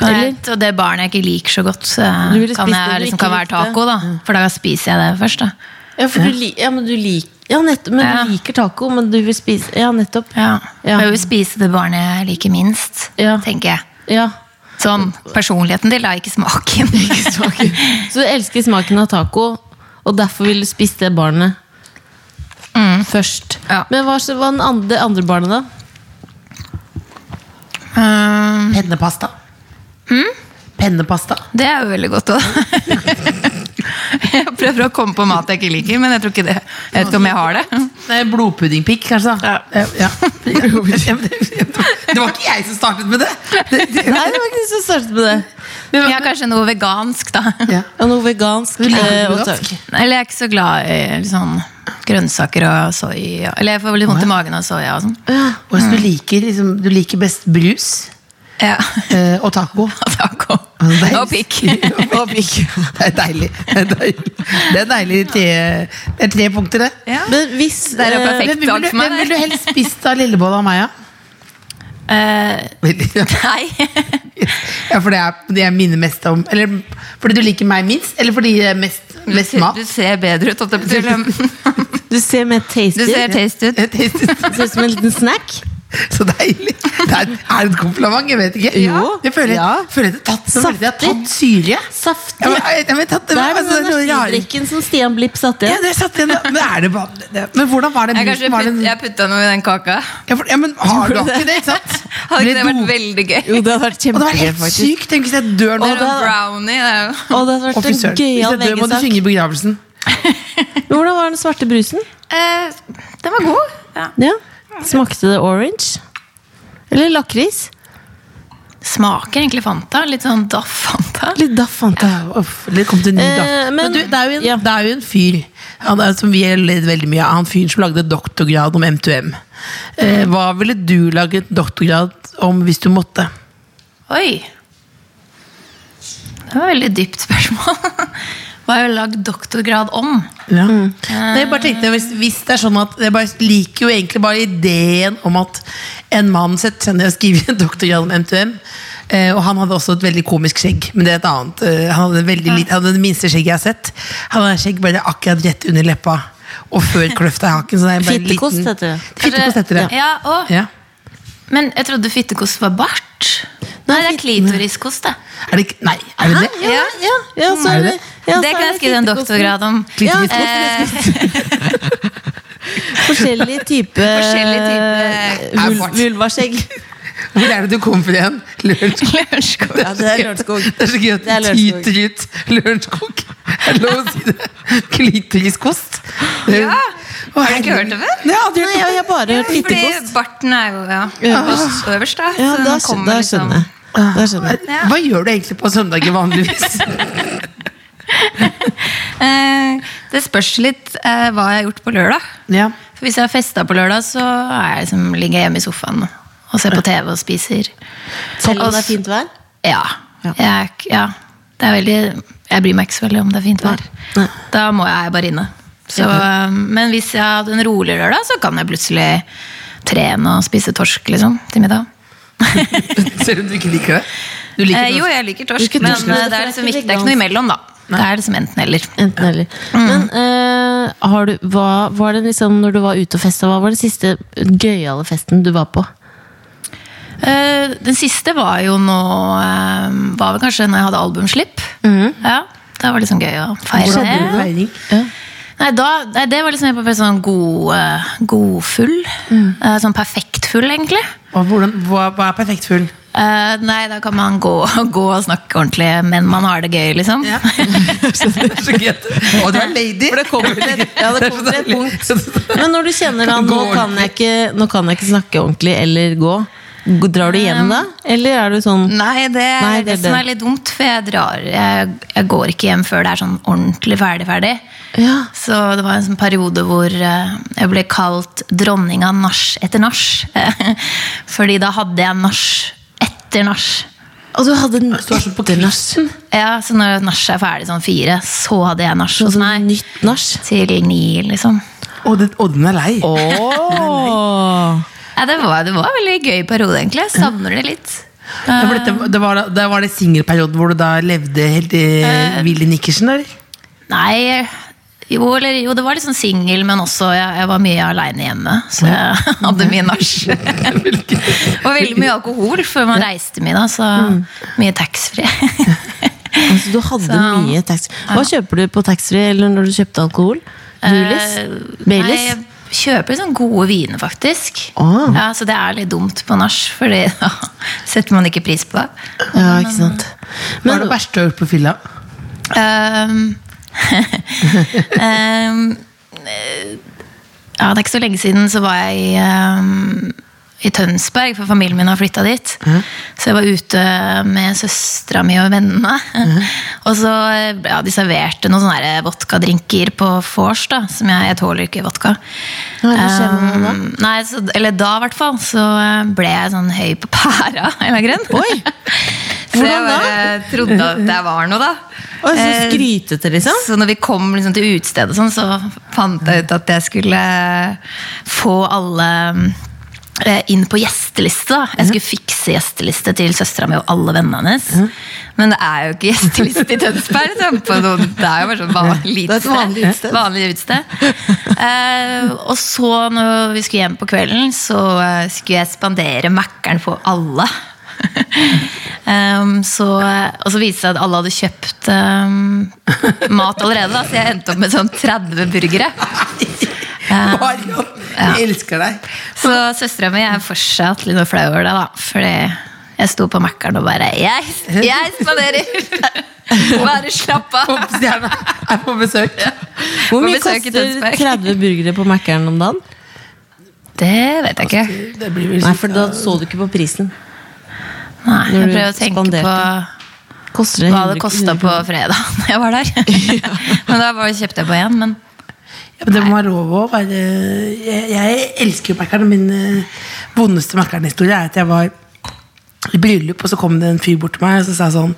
Speaker 7: jeg, Og det barnet jeg ikke liker så godt, så
Speaker 3: Du ville
Speaker 7: kan,
Speaker 3: spist det
Speaker 7: jeg,
Speaker 3: du
Speaker 7: liksom,
Speaker 3: ikke
Speaker 7: kan være
Speaker 3: likte. Mm.
Speaker 7: taco. da For da spiser jeg det først. da
Speaker 3: Ja, for du, li ja, men du, lik ja, nettopp, men
Speaker 7: Ja.
Speaker 3: du liker taco, men du vil spise Ja, nettopp.
Speaker 7: Ja.
Speaker 3: Ja.
Speaker 7: Jeg vil spise det barnet jeg liker minst,
Speaker 3: Ja.
Speaker 7: tenker jeg.
Speaker 3: Ja.
Speaker 7: Sånn, personligheten til, da, ikke smaken.
Speaker 3: Så du elsker smaken av taco, og derfor vil du spise det barnet først.
Speaker 7: Mm. Ja.
Speaker 3: Men hva så- hva den andre, det andre barnet, da?
Speaker 7: Um,
Speaker 4: Pennepasta. Pennepasta.
Speaker 7: det er jo veldig godt òg. jeg prøver å komme på mat jeg ikke liker, men jeg tror ikke det. Jeg vet ikke om jeg har det.
Speaker 4: Nei, blodpuddingpikk, kanskje. da Eh, ja. Det var ikke jeg som startet med det! det, det.
Speaker 3: Nei, det var ikke du som startet med det.
Speaker 7: Men jeg har kanskje noe vegansk, da.
Speaker 4: Ja.
Speaker 3: Ja, noe
Speaker 4: Du
Speaker 3: vegansk.
Speaker 4: liker
Speaker 3: eh, og
Speaker 4: vegansk?
Speaker 3: tørk.
Speaker 7: Eller jeg er ikke så glad i eh, sånn grønnsaker og soya. Eller jeg får litt vondt i magen av soya og sånn.
Speaker 4: Og så du, liker, liksom, du liker best brus
Speaker 7: Ja.
Speaker 4: eh, og taco.
Speaker 7: Taco.
Speaker 4: Det er-
Speaker 7: Og pikk.
Speaker 4: og pikk. Det er deilig. Det er deilig, det er deilig tre, det er tre punkter, det.
Speaker 7: Ja.
Speaker 3: Men hvis
Speaker 7: Det er jo
Speaker 3: eh,
Speaker 7: perfekt.
Speaker 4: Hvem vil,
Speaker 7: dag
Speaker 4: du,
Speaker 7: for meg,
Speaker 4: hvem vil du
Speaker 7: det.
Speaker 4: helst spist av lillebolla og meg, ja?
Speaker 7: Eh, nei.
Speaker 4: Ja, for det er det jeg minner mest om. Eller fordi du liker meg minst, eller fordi det er mest, mest mat?
Speaker 7: Du ser bedre ut. holdt jeg på å si.
Speaker 3: du ser mer tasty
Speaker 7: Du ser
Speaker 3: ut,
Speaker 7: taste ut.
Speaker 4: Jeg tastet-
Speaker 3: ser ut som en liten snack.
Speaker 4: Så deilig. Det er, er det et kompliment? Jeg vet ikke.
Speaker 3: Jo.
Speaker 4: Jeg føler,
Speaker 3: Ja.
Speaker 4: føler jeg har tatt, jeg føler jeg har tatt
Speaker 3: Saftig.
Speaker 4: syre.
Speaker 3: Saftig.
Speaker 4: Ja, men, jeg, jeg, men, tatt,
Speaker 3: Det er
Speaker 4: altså, det er
Speaker 3: den
Speaker 4: noe rare-
Speaker 3: energidrikken som Stian Blipp satte
Speaker 4: Ja,
Speaker 3: igjen.
Speaker 4: det satt igjen. da. Men, er det bare, det, men hvordan var det
Speaker 5: Jeg,
Speaker 4: musen?
Speaker 5: kanskje
Speaker 4: Var
Speaker 5: putt,
Speaker 4: det,
Speaker 5: jeg putta noe i den kaka.
Speaker 4: ja, for, ja, men har du ikke det, ikke sant?
Speaker 5: Hadde ikke det vært
Speaker 4: Ble do-
Speaker 5: veldig gøy?
Speaker 3: Jo, det hadde vært
Speaker 4: Og det var helt sykt. Tenk hvis jeg dør nå.
Speaker 5: Det er
Speaker 3: da-
Speaker 5: noe brownie, det er jo.
Speaker 3: Og det hadde
Speaker 4: Å,
Speaker 3: vært
Speaker 4: fy
Speaker 3: en
Speaker 4: søren. Hvis
Speaker 3: gøyal
Speaker 4: jeg dør, må du
Speaker 3: VG-sak.
Speaker 4: synge i begravelsen.
Speaker 3: Men Hvordan var den svarte brusen?
Speaker 5: Eh, den var god. Ja.
Speaker 3: Ja. Smakte det orange? Eller lakris?
Speaker 7: Smaker egentlig Fanta. Litt sånn Daff Fanta.
Speaker 3: Litt daff, fant jeg.
Speaker 4: Ja, uff, eller kom til ny, da.
Speaker 3: Eh, men-
Speaker 4: men, du, det, er jo en,
Speaker 3: ja.
Speaker 4: det er jo en fyr han er, som vi har ledd veldig mye av. Han fyren som lagde doktorgrad om M2M. Eh, hva ville du laget doktorgrad om hvis du måtte?
Speaker 7: Oi! Det var et veldig dypt spørsmål. Hva har jeg lagd doktorgrad om?
Speaker 4: Ja.
Speaker 3: Ah.
Speaker 4: Nei, Mm. jeg bare tenkte, hvis, hvis det er sånn at Jeg bare liker jo egentlig bare ideen om at en mann setter seg ned og skriver en doktorgrad om M2M. Eh, og han hadde også et veldig komisk skjegg. Men det er et annet eh, Han hadde, veldig, lite- han hadde det minste skjegget jeg har sett. Han hadde skjegg bare akkurat rett under leppa og før kløfta i haken. Så det er bare en liten-
Speaker 3: Fittekost heter det.
Speaker 4: Fittekost heter det.
Speaker 7: Ja, og,
Speaker 4: Ja.
Speaker 7: Men jeg trodde fittekost var bart. Nei, det er klitoriskost, det.
Speaker 4: Er det ikke Nei, er det det?
Speaker 3: Ja, ja, ja, så
Speaker 4: Er
Speaker 3: er
Speaker 4: det
Speaker 3: det,
Speaker 4: det?
Speaker 3: ja,
Speaker 7: det
Speaker 3: så
Speaker 7: kan
Speaker 3: er
Speaker 7: jeg skrive en
Speaker 3: fittekosten.
Speaker 7: doktorgrad om.
Speaker 3: Ja,
Speaker 4: Klitoris-
Speaker 7: Eh,
Speaker 3: forskjellig type, eh,
Speaker 5: Forskjellig type-
Speaker 3: vul- vulvaskjegg.
Speaker 4: Hvor er det du kommer fra igjen? Lørenskog?
Speaker 5: Lørenskog.
Speaker 3: Ja, det er Lørenskog.
Speaker 4: Det er så gøy at
Speaker 3: Det er
Speaker 4: det
Speaker 3: Lørenskog.
Speaker 4: tyter ut Lørenskog. Er det lov å si det? Klitoriskost. Ja!
Speaker 5: Har du ikke hørt om det?
Speaker 4: Ja, du
Speaker 3: Nei, jeg jeg har bare hørt
Speaker 5: Fordi
Speaker 3: fittekost.
Speaker 5: barten er jo ja, øverst, øverst, da.
Speaker 3: Ja,
Speaker 5: så
Speaker 3: da
Speaker 5: den
Speaker 3: skjø-
Speaker 5: kommer
Speaker 3: da
Speaker 5: liksom-
Speaker 3: skjønner jeg. Da skjønner jeg.
Speaker 5: Ja.
Speaker 4: Hva gjør du egentlig på søndager vanligvis?
Speaker 5: Eh, det spørs litt eh, hva jeg har gjort på lørdag.
Speaker 4: Ja.
Speaker 7: For hvis jeg har festa på lørdag, så er jeg liksom, ligger jeg hjemme i sofaen og ser på TV og spiser.
Speaker 3: Selv om det er fint vær?
Speaker 7: Ja.
Speaker 3: Ja.
Speaker 7: Jeg, er ikke- ja. Det er veldig, jeg bryr meg ikke så veldig om det er fint vær.
Speaker 3: Nei.
Speaker 7: Da må jeg bare inne. Så, eh, men hvis jeg hadde en rolig lørdag, så kan jeg plutselig trene og spise torsk liksom, til middag.
Speaker 4: Selv om du ikke liker det? Du liker
Speaker 5: Eh,
Speaker 4: det
Speaker 5: jo,
Speaker 4: også.
Speaker 5: jeg liker torsk,
Speaker 3: Hvilket
Speaker 5: men
Speaker 3: torsk?
Speaker 5: eh, det er liksom ikke, det er ikke noe imellom, da.
Speaker 7: Det er liksom enten-eller.
Speaker 3: Enten eller.
Speaker 7: Mm.
Speaker 3: Men eh, har du, hva var det liksom når du var ute og festa, hva var den siste gøyale festen du var på?
Speaker 7: Eh, den siste var jo nå eh, Var vel kanskje når jeg hadde albumslipp. Ja, Da var det liksom gøy å feire
Speaker 4: Hvordan hadde du
Speaker 7: det.
Speaker 4: feiring?
Speaker 7: Nei, da, nei, det var liksom jeg var sånn god, eh, godfull. Eh, sånn perfekt full, egentlig.
Speaker 4: Og hvordan, hva, hva er perfekt full?
Speaker 7: Eh, nei, da kan man gå, gå og snakke ordentlig, men man har det gøy, liksom.
Speaker 4: Ja. Det er så gøy. at- Å, du er lady!
Speaker 3: For det kommer til et, ja, det kommer til et punkt.
Speaker 4: Så det-
Speaker 3: Men når du kjenner at nå kan jeg ikke, nå kan jeg ikke snakke ordentlig eller gå, g- drar du hjem da? Eller er du sånn
Speaker 7: Nei, det er
Speaker 3: Nei,
Speaker 7: det,
Speaker 3: det er
Speaker 7: som
Speaker 3: det.
Speaker 7: er litt dumt, for jeg drar jeg, jeg går ikke hjem før det er sånn ordentlig ferdig-ferdig.
Speaker 3: Ja.
Speaker 7: Så det var en sånn periode hvor eh, jeg ble kalt dronning av nach etter nach. eh, Fordi da hadde jeg nach etter nach.
Speaker 3: Og du hadde en etter nach.
Speaker 7: Ja, så når nach er ferdig sånn fire, så hadde jeg nach hos meg.
Speaker 3: Altså, Nytt nach.
Speaker 7: Til ni, liksom.
Speaker 4: Å, den- å, den er lei.
Speaker 3: Oh.
Speaker 7: Ja, det, var, det var en veldig gøy periode, egentlig. Jeg savner det litt.
Speaker 4: Ja, for dette, det var, da- da var det singelperioden hvor du da levde helt i Willy Nikkersen, eller?
Speaker 7: Nei jo, eller, jo, det var liksom singel, men også jeg, jeg var mye aleine hjemme. Så jeg hadde mye nach. og veldig mye alkohol før man reiste mye, da, så mye taxfree.
Speaker 3: Altså, du hadde
Speaker 7: Så-
Speaker 3: mye tax. Hva kjøper du på taxfree eller når du kjøpte alkohol? Bulis?
Speaker 7: Eh, Nei,
Speaker 3: Baileys?
Speaker 7: jeg kjøper sånn gode viner, faktisk.
Speaker 3: Ah.
Speaker 7: Ja, så det er litt dumt på nach, for det setter man ikke pris på.
Speaker 3: Ja, ikke sant.
Speaker 4: Hva er det verste du har gjort på fylla?
Speaker 7: Ehm, ehm, eh, ja, det er ikke så lenge siden så var jeg i, ehm, i Tønsberg, for familien min har flytta dit.
Speaker 3: Mhm.
Speaker 7: Så jeg var ute med søstera mi og vennene.
Speaker 3: Mhm.
Speaker 7: og så eh, ja, de serverte noen sånne her vodkadrinker på vors, da, som jeg, jeg tåler ikke vodka.
Speaker 3: Hva er det som skjer med
Speaker 7: Ehm, nei, så, eller da i hvert fall, så eh, ble jeg sånn høy på pæra. av en Eller grunn.
Speaker 5: Så jeg
Speaker 3: Hvordan da?
Speaker 5: bare trodde at det var noe, da.
Speaker 3: Og så
Speaker 5: Eh,
Speaker 3: skrytete, liksom?
Speaker 5: Så når vi kom liksom til utestedet, og sånn, så fant jeg ut at jeg skulle få alle
Speaker 7: eh, inn på gjesteliste. da. Jeg skulle fikse gjesteliste til søstera mi og alle vennene hennes. Men det er jo ikke gjesteliste i Tønsberg. så jeg på noen, det er jo bare sånn vanlig
Speaker 8: Det er et vanlig utsted.
Speaker 7: utsted. Vanlig utsted. Eh, og så, når vi skulle hjem på kvelden, så eh, skulle jeg spandere Mækkern på alle. Em, så, eh, og så viste det seg at alle hadde kjøpt em, mat allerede, da, så jeg endte opp med sånn 30 burgere. Eh,
Speaker 4: Marion, jeg elsker deg.
Speaker 7: så søstera mi er fortsatt litt flau over det, da. Fordi jeg sto på Mækkern og bare Jeg, jeg spanderer! Bare slapp av!
Speaker 4: Popstjerna er på besøk.
Speaker 3: Hvor
Speaker 7: På
Speaker 3: mye
Speaker 7: besøk i
Speaker 3: koster
Speaker 7: Tønsberg.
Speaker 3: 30 burgere på Mækkern om dagen?
Speaker 7: Det vet jeg ikke.
Speaker 4: Det blir vel
Speaker 3: Nei, for da så du ikke på prisen.
Speaker 7: Nei,
Speaker 3: Når
Speaker 7: jeg
Speaker 3: du
Speaker 7: prøver å tenke
Speaker 3: spanderte.
Speaker 7: på
Speaker 3: Koster
Speaker 7: hva det
Speaker 3: 100
Speaker 7: kosta på fredag da jeg var der. Men da bare kjøpte jeg på én. Men
Speaker 4: Ja, men det må være lov å være Jeg, jeg elsker jo Mækkern. og Min eh, vondeste Mækkern-historie er at jeg var i bryllup, og så kom det en fyr bort til meg og så sa jeg sånn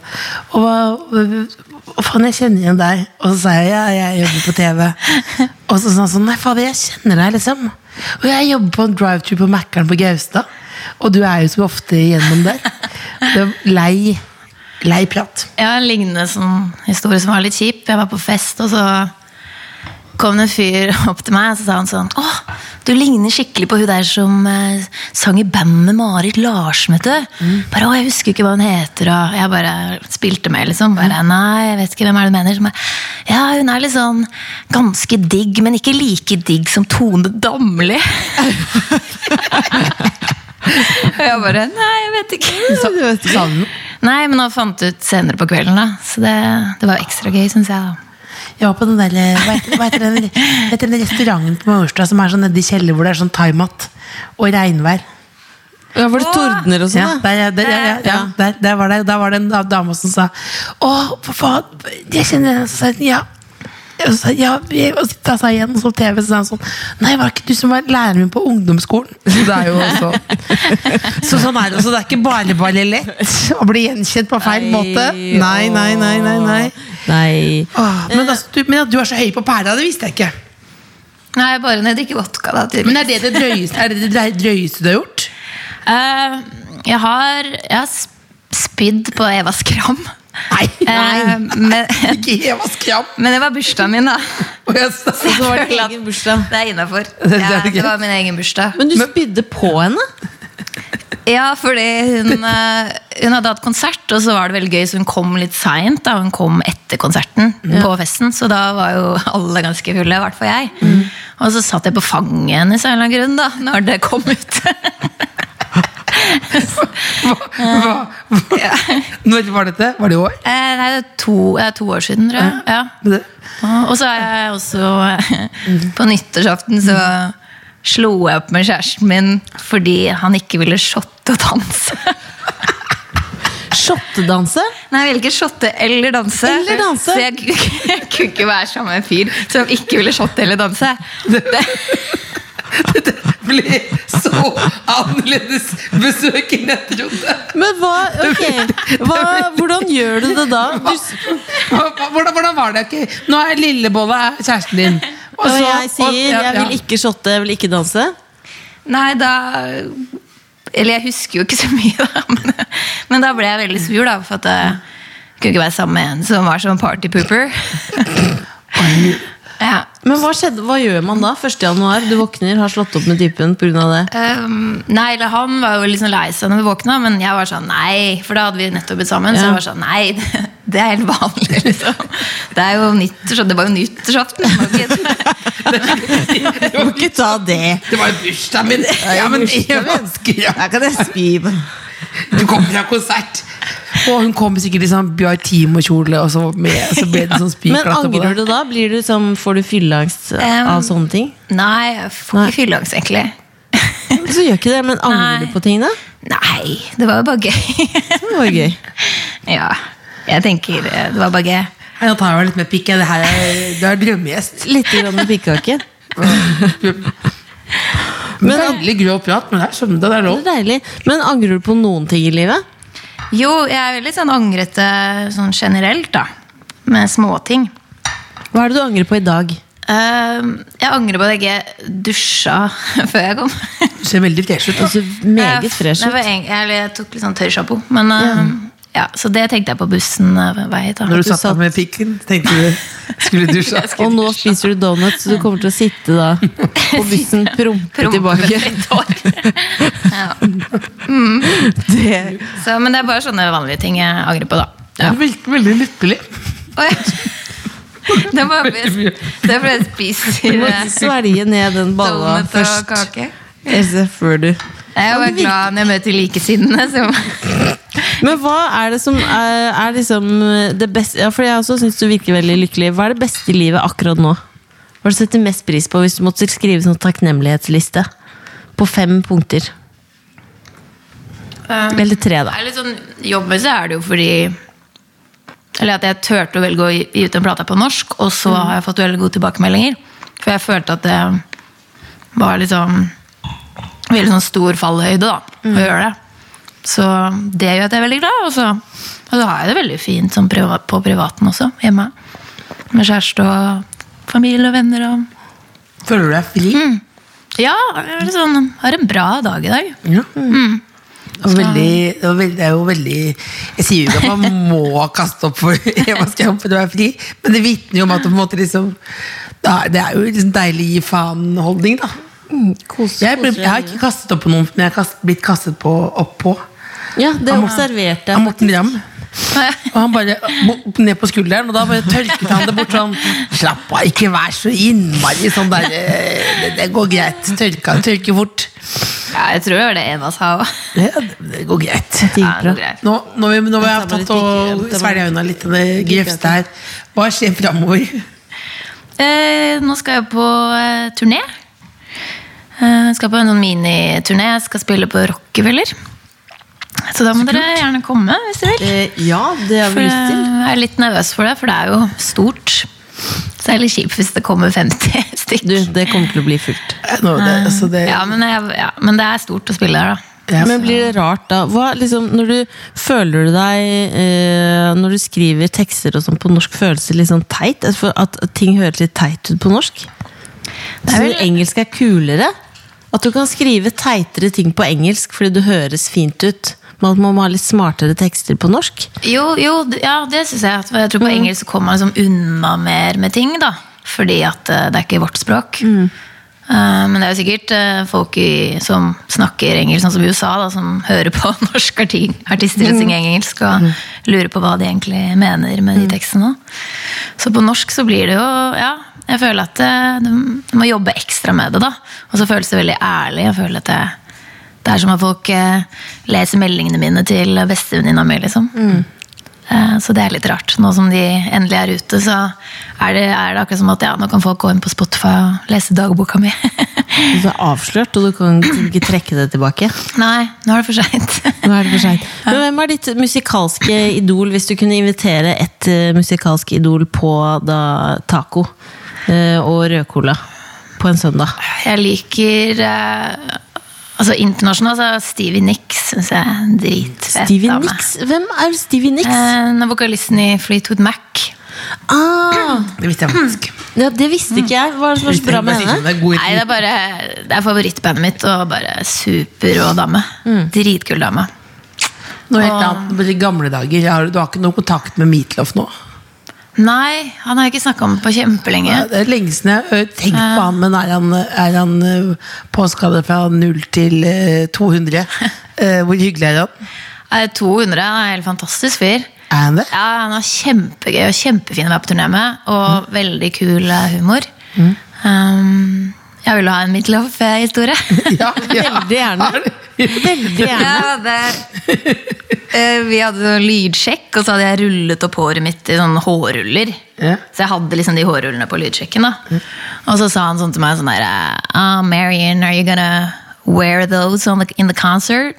Speaker 4: Og hva, hva faen, jeg kjenner igjen deg. Og så sa jeg ja, jeg jobber på TV. Og så sa han sånn Nei, fader, jeg kjenner deg, liksom. Og jeg jobber på en drive-thru på Mækkern på Gaustad. Og du er jo så ofte igjennom der. Det var lei, lei prat.
Speaker 7: jeg har en lignende sånn historie som var litt kjip. Jeg var på fest, og så kom det en fyr opp til meg og så sa han sånn Åh, du ligner skikkelig på hun der som eh, sang i band med Marit Larsen, vet du. Bare, Å, jeg husker ikke hva hun heter. Og jeg bare spilte med, liksom. Bare, Nei, jeg vet ikke hvem er det du mener. Så bare, ja, hun er litt sånn ganske digg, men ikke like digg som Tone Damli. Og jeg bare Nei, jeg vet ikke.
Speaker 4: Sa du noe?
Speaker 7: Nei, men han fant ut senere på kvelden, da. Så det, det var ekstra gøy, syns jeg. da.
Speaker 4: Jeg var på den der, eh, hva heter, hva heter den, hva heter den restauranten på Maurstad som er sånn nedi kjeller hvor det er sånn thaimat og regnvær?
Speaker 3: Ja, var det tordner og
Speaker 4: Ja,
Speaker 3: sånn? da?
Speaker 4: der, ja, der, ja, ja, ja, der, der, var det, der var det en da- dame som sa Å, for faen, jeg kjenner den. Så sa jeg ja. Og så sa jeg, ja, jeg- og så- da sa jeg igjen, og så på TV, så sa han sånn Nei, var det ikke du som var læreren min på ungdomsskolen? Så det er jo også Så sånn er det. Så det er ikke bare bare lett å bli gjenkjent på feil måte. Nei, nei, nei, nei. nei.
Speaker 3: Nei.
Speaker 4: Åh, men, altså, du, men at du er så høy på pæra, det visste jeg ikke.
Speaker 7: Nei, bare når jeg drikker vodka, da. tydeligvis.
Speaker 4: Men er det det drøyeste, er det det drøy- drøyeste du har gjort?
Speaker 7: Eh, jeg har, jeg har sp- spydd på Eva Skram.
Speaker 4: Nei,
Speaker 7: Eh, men,
Speaker 4: ikke Eva Skram.
Speaker 7: men det var bursdagen min, da.
Speaker 4: Og jeg sa-
Speaker 7: Så var det
Speaker 3: egen bursdag.
Speaker 7: Det er
Speaker 4: er
Speaker 7: innafor. Ja,
Speaker 4: greit.
Speaker 7: det var min egen bursdag.
Speaker 3: Men du spydde på henne?
Speaker 7: Ja, fordi hun, eh, hun hadde hatt konsert, og så var det veldig gøy, så hun kom litt seint. da. Hun kom etter konserten på festen, så da var jo alle ganske fulle, i hvert fall jeg. Og så satt jeg på fanget hennes av en eller annen grunn, da, når det kom ut.
Speaker 4: Hva- hva- Når var dette? Var det i år?
Speaker 7: Eh, Nei, det er to, eh, to år siden, tror jeg. Ja. Mm.
Speaker 4: Det-
Speaker 7: Og så er jeg også eh, På nyttårsaften så slo jeg opp med kjæresten min fordi han ikke ville shotte og danse.
Speaker 3: Shottedanse?
Speaker 7: Nei, jeg ville ikke shotte eller danse.
Speaker 3: Eller danse.
Speaker 7: Så jeg, jeg kunne ikke være sammen med en fyr som ikke ville shotte eller danse. Det,
Speaker 6: Bli så annerledes besøk enn jeg trodde.
Speaker 3: Men hva, ok hva, Hvordan gjør du det da? Du, s-
Speaker 4: Hva- hva- Hvordan, hvordan var det? Ok, Nå er Lillebolle er kjæresten din. Og
Speaker 3: og
Speaker 4: så-
Speaker 3: jeg
Speaker 4: og-
Speaker 3: sier
Speaker 4: ja,
Speaker 3: jeg
Speaker 4: ja.
Speaker 3: vil ikke shotte, jeg vil ikke danse.
Speaker 7: nei, da Eller jeg husker jo ikke så mye, da. Men, men da ble jeg veldig sur, da. For at jeg kunne ikke være sammen med en som var sånn partypooper. Ja.
Speaker 3: Men hva, skjedde, hva gjør man da? 1. januar, du våkner, har slått opp med typen pga. det.
Speaker 7: Ehm, nei, eller han var jo litt sånn lei seg når vi våkna, men jeg var sånn nei, for da hadde vi nettopp blitt sammen. Så
Speaker 3: Ja.
Speaker 7: jeg var sånn nei, det, det er helt vanlig, liksom. Det er jo nyttårs, det var jo nyttårsaften. det var jo ikke-
Speaker 3: Du må ikke ta det!
Speaker 6: Det var jo bursdagen min!
Speaker 4: Ja, men Eva Skram.
Speaker 8: Her kan jeg spy på
Speaker 6: Du kom fra konsert!
Speaker 4: Og hun kom sikkert i sånn Bjartimo-kjole, og så, med, så ble det sånn
Speaker 3: Men
Speaker 4: spyklatt oppå
Speaker 3: angrer
Speaker 4: det.
Speaker 3: du da? Blir du som, får du fylleangst av sånne ting?
Speaker 7: Nei, jeg får ikke fylleangst, egentlig.
Speaker 3: Så gjør ikke det, men angrer
Speaker 7: Nei.
Speaker 3: du på ting da?
Speaker 7: Nei, det var jo bare gøy.
Speaker 3: Det var gøy.
Speaker 7: ja, jeg tenker eh, det var bare gøy.
Speaker 4: Nei, Nå tar jeg meg litt med pikk. jeg. Det her er, du er drømmegjest.
Speaker 3: Litt grann med pikkake.
Speaker 4: Men, veldig grov prat, men det er sånn det er
Speaker 3: Det
Speaker 4: lov.
Speaker 3: er deilig. Men angrer du på noen ting i livet?
Speaker 7: Jo, jeg er jo litt sånn angrete sånn generelt, da. Med småting.
Speaker 3: Hva er det du angrer på i dag?
Speaker 7: Ehm, jeg angrer på at jeg ikke dusja før jeg kom.
Speaker 4: Du ser veldig fresh ut.
Speaker 3: Du
Speaker 4: da.
Speaker 3: ser Altså, meget fresh
Speaker 7: Jeg,
Speaker 3: ut.
Speaker 7: var eng- eller jeg tok litt sånn tørr sjampo. Men ehm, ja, så det tenkte jeg på bussen eh, vei hit. da.
Speaker 4: Når du
Speaker 3: du
Speaker 4: satt der
Speaker 3: satt-
Speaker 4: med pikken, tenkte du skulle dusje.
Speaker 3: Og nå spiser du donuts, så du kommer til å sitte da på bussen prompe tilbake.
Speaker 7: ja.
Speaker 4: Det
Speaker 7: så, men det er bare sånne vanlige ting jeg angrer på, da.
Speaker 4: er veldig, veldig lykkelig.
Speaker 7: Oi. Det er bare det er fordi jeg spiser
Speaker 3: Du må
Speaker 7: eh,
Speaker 3: svelge ned den balla
Speaker 7: donut og
Speaker 3: først.
Speaker 7: kake.
Speaker 3: Else, før du
Speaker 7: Jeg er jo bare glad når jeg møter likesinnede. som-
Speaker 3: Men hva er det som er, er liksom det beste ja, For jeg også syns du virker veldig lykkelig. Hva er det beste i livet akkurat nå? Hva er det du setter mest pris på hvis du måtte skrive sånn takknemlighetsliste? På fem punkter. Eller tre, da.
Speaker 7: er litt sånn, jobbmessig er det jo fordi Eller at jeg turte å velge å gi gi ut den plata på norsk, og så har jeg fått veldig gode tilbakemeldinger. For jeg følte at det var liksom Veldig sånn stor fallhøyde, da, å gjøre det. Så det gjør at jeg er veldig glad. Og så, og så har jeg det veldig fint sånn priva- på privaten også, hjemme. Med kjæreste og familie og venner og
Speaker 4: Føler du deg fri?
Speaker 7: Ja, jeg er litt sånn, har en bra dag i dag.
Speaker 4: Ja. Mm. Og veldig, og veld- det er jo veldig Jeg sier jo ikke at man må kaste opp for Eva skal jobbe, du er fri, men det vitner jo om at du på en måte liksom da- Det er jo liksom deilig gi faen-holdning, da. Jeg, ble, jeg har ikke kastet opp på noen, men jeg har kast, blitt kastet på, opp på
Speaker 3: Ja, det observerte
Speaker 4: av
Speaker 3: jeg.
Speaker 4: Morten Ramm. Og han bare opp ned på skulderen, og da bare tørket han det bort sånn. Slapp av, ikke vær så innmari sånn der eh, Det, det går greit. Tørka, tørke fort.
Speaker 7: Ja, jeg tror det var det Eva sa òg.
Speaker 4: Ja, det, det går greit.
Speaker 3: Diggbra.
Speaker 4: Nå, når vi, når vi har
Speaker 3: Jeg tar meg
Speaker 4: tatt og
Speaker 3: litt ikke-
Speaker 4: svelga unna litt av det grøfste her, hva skjer framover?
Speaker 7: Eh, nå skal jeg på eh, turné. Eh, skal på en sånn miniturné. Jeg skal spille på Rockefeller. Så da må dere gjerne komme hvis dere vil.
Speaker 3: Eh, ja, det har
Speaker 7: For eh,
Speaker 3: vi lyst til.
Speaker 7: jeg er litt nervøs for det, for det er jo stort. Så det er litt kjipt hvis det kommer 50
Speaker 3: Du,
Speaker 7: stykker.
Speaker 3: det kommer til å bli fullt.
Speaker 4: Nå, det, altså det,
Speaker 7: Ja, men, jeg, ja, men det er stort å spille her, da.
Speaker 4: Ja.
Speaker 3: Men blir det rart, da? Hva, liksom, når du føler du deg eh, Når du skriver tekster og sånn på norsk, føles det litt sånn teit? Altså, For at ting høres litt teit ut på norsk? Så
Speaker 7: vel-
Speaker 3: engelsk er kulere? At du kan skrive teitere ting på engelsk fordi du høres fint ut? Men at man må ha litt smartere tekster på norsk?
Speaker 7: Jo, jo d- ja, det syns jeg. For jeg tror på engelsk så kommer man liksom unna mer med ting, da. Fordi at eh, det er ikke vårt språk. Eh, men det er jo sikkert eh, folk i, som snakker engelsk, sånn som i USA, da, som hører på norske arti- artister som synger engelsk, og lurer på hva de egentlig mener med de tekstene. Så på norsk så blir det jo Ja, jeg føler at eh, du du må jobbe ekstra med det, da. Og så føles det veldig ærlig. Jeg føler at det, det er som at folk eh, leser meldingene mine til bestevenninna mi, liksom.
Speaker 3: Mm.
Speaker 7: Eh, Så det er litt rart. Nå som de endelig er ute, så er det, er det akkurat som at ja, nå kan folk gå inn på Spotify og lese dagboka mi.
Speaker 3: Du er avslørt, og du kan ikke trekke det tilbake?
Speaker 7: Nei, nå er det for seint.
Speaker 3: Nå er det for sent. Men hvem er ditt musikalske idol, hvis du kunne invitere et eh, musikalsk idol på da, taco eh, og rødcola på en søndag?
Speaker 7: Jeg liker eh, Altså internasjonalt, så Stevie Nicks syns jeg er en dritfet
Speaker 3: Stevie
Speaker 7: dame.
Speaker 3: Nicks? Hvem er Stevie Nicks?
Speaker 7: Eh, Hun er vokalisten i Fleetwood Mac.
Speaker 3: Ah,
Speaker 4: Det visste jeg faktisk.
Speaker 3: ja, det visste ikke jeg. Hva er det som er så bra med
Speaker 4: Jeg bare sier
Speaker 3: henne?
Speaker 4: sånn, det er god
Speaker 7: Nei, det er bare Det er favorittbandet mitt, og bare superrå dame.
Speaker 3: Mm.
Speaker 7: Dritkul dame.
Speaker 4: ritme. Noe helt annet bare i gamle dager. Jeg har, du har ikke noe kontakt med Meatloaf nå?
Speaker 7: Nei, han har jeg ikke snakka med på kjempelenge.
Speaker 4: Ja, Det er lenge siden jeg har ø, tenkt på han, men er han, er han ø, påskadet fra 0 til ø, 200? Eh, Hvor hyggelig er han?
Speaker 7: Nei, 200 han er en helt fantastisk fyr.
Speaker 4: Er han det?
Speaker 7: Ja, Han er kjempegøy og kjempefin å være på turné med, og
Speaker 4: Mm.
Speaker 7: veldig kul eh, humor. Um, jeg vil jo ha en eh, Midtloff-historie.
Speaker 4: Ja, ja.
Speaker 3: Veldig gjerne. Veldig gjerne.
Speaker 5: Ja, det
Speaker 7: Eh, Vi hadde sånn lydsjekk, og så hadde jeg rullet opp håret mitt i sånne hårruller.
Speaker 4: Ja.
Speaker 7: Så jeg hadde liksom de hårrullene på lydsjekken. da. Og så sa han sånn til meg sånn der ah, Marion, are you gonna wear those on the, in the concert?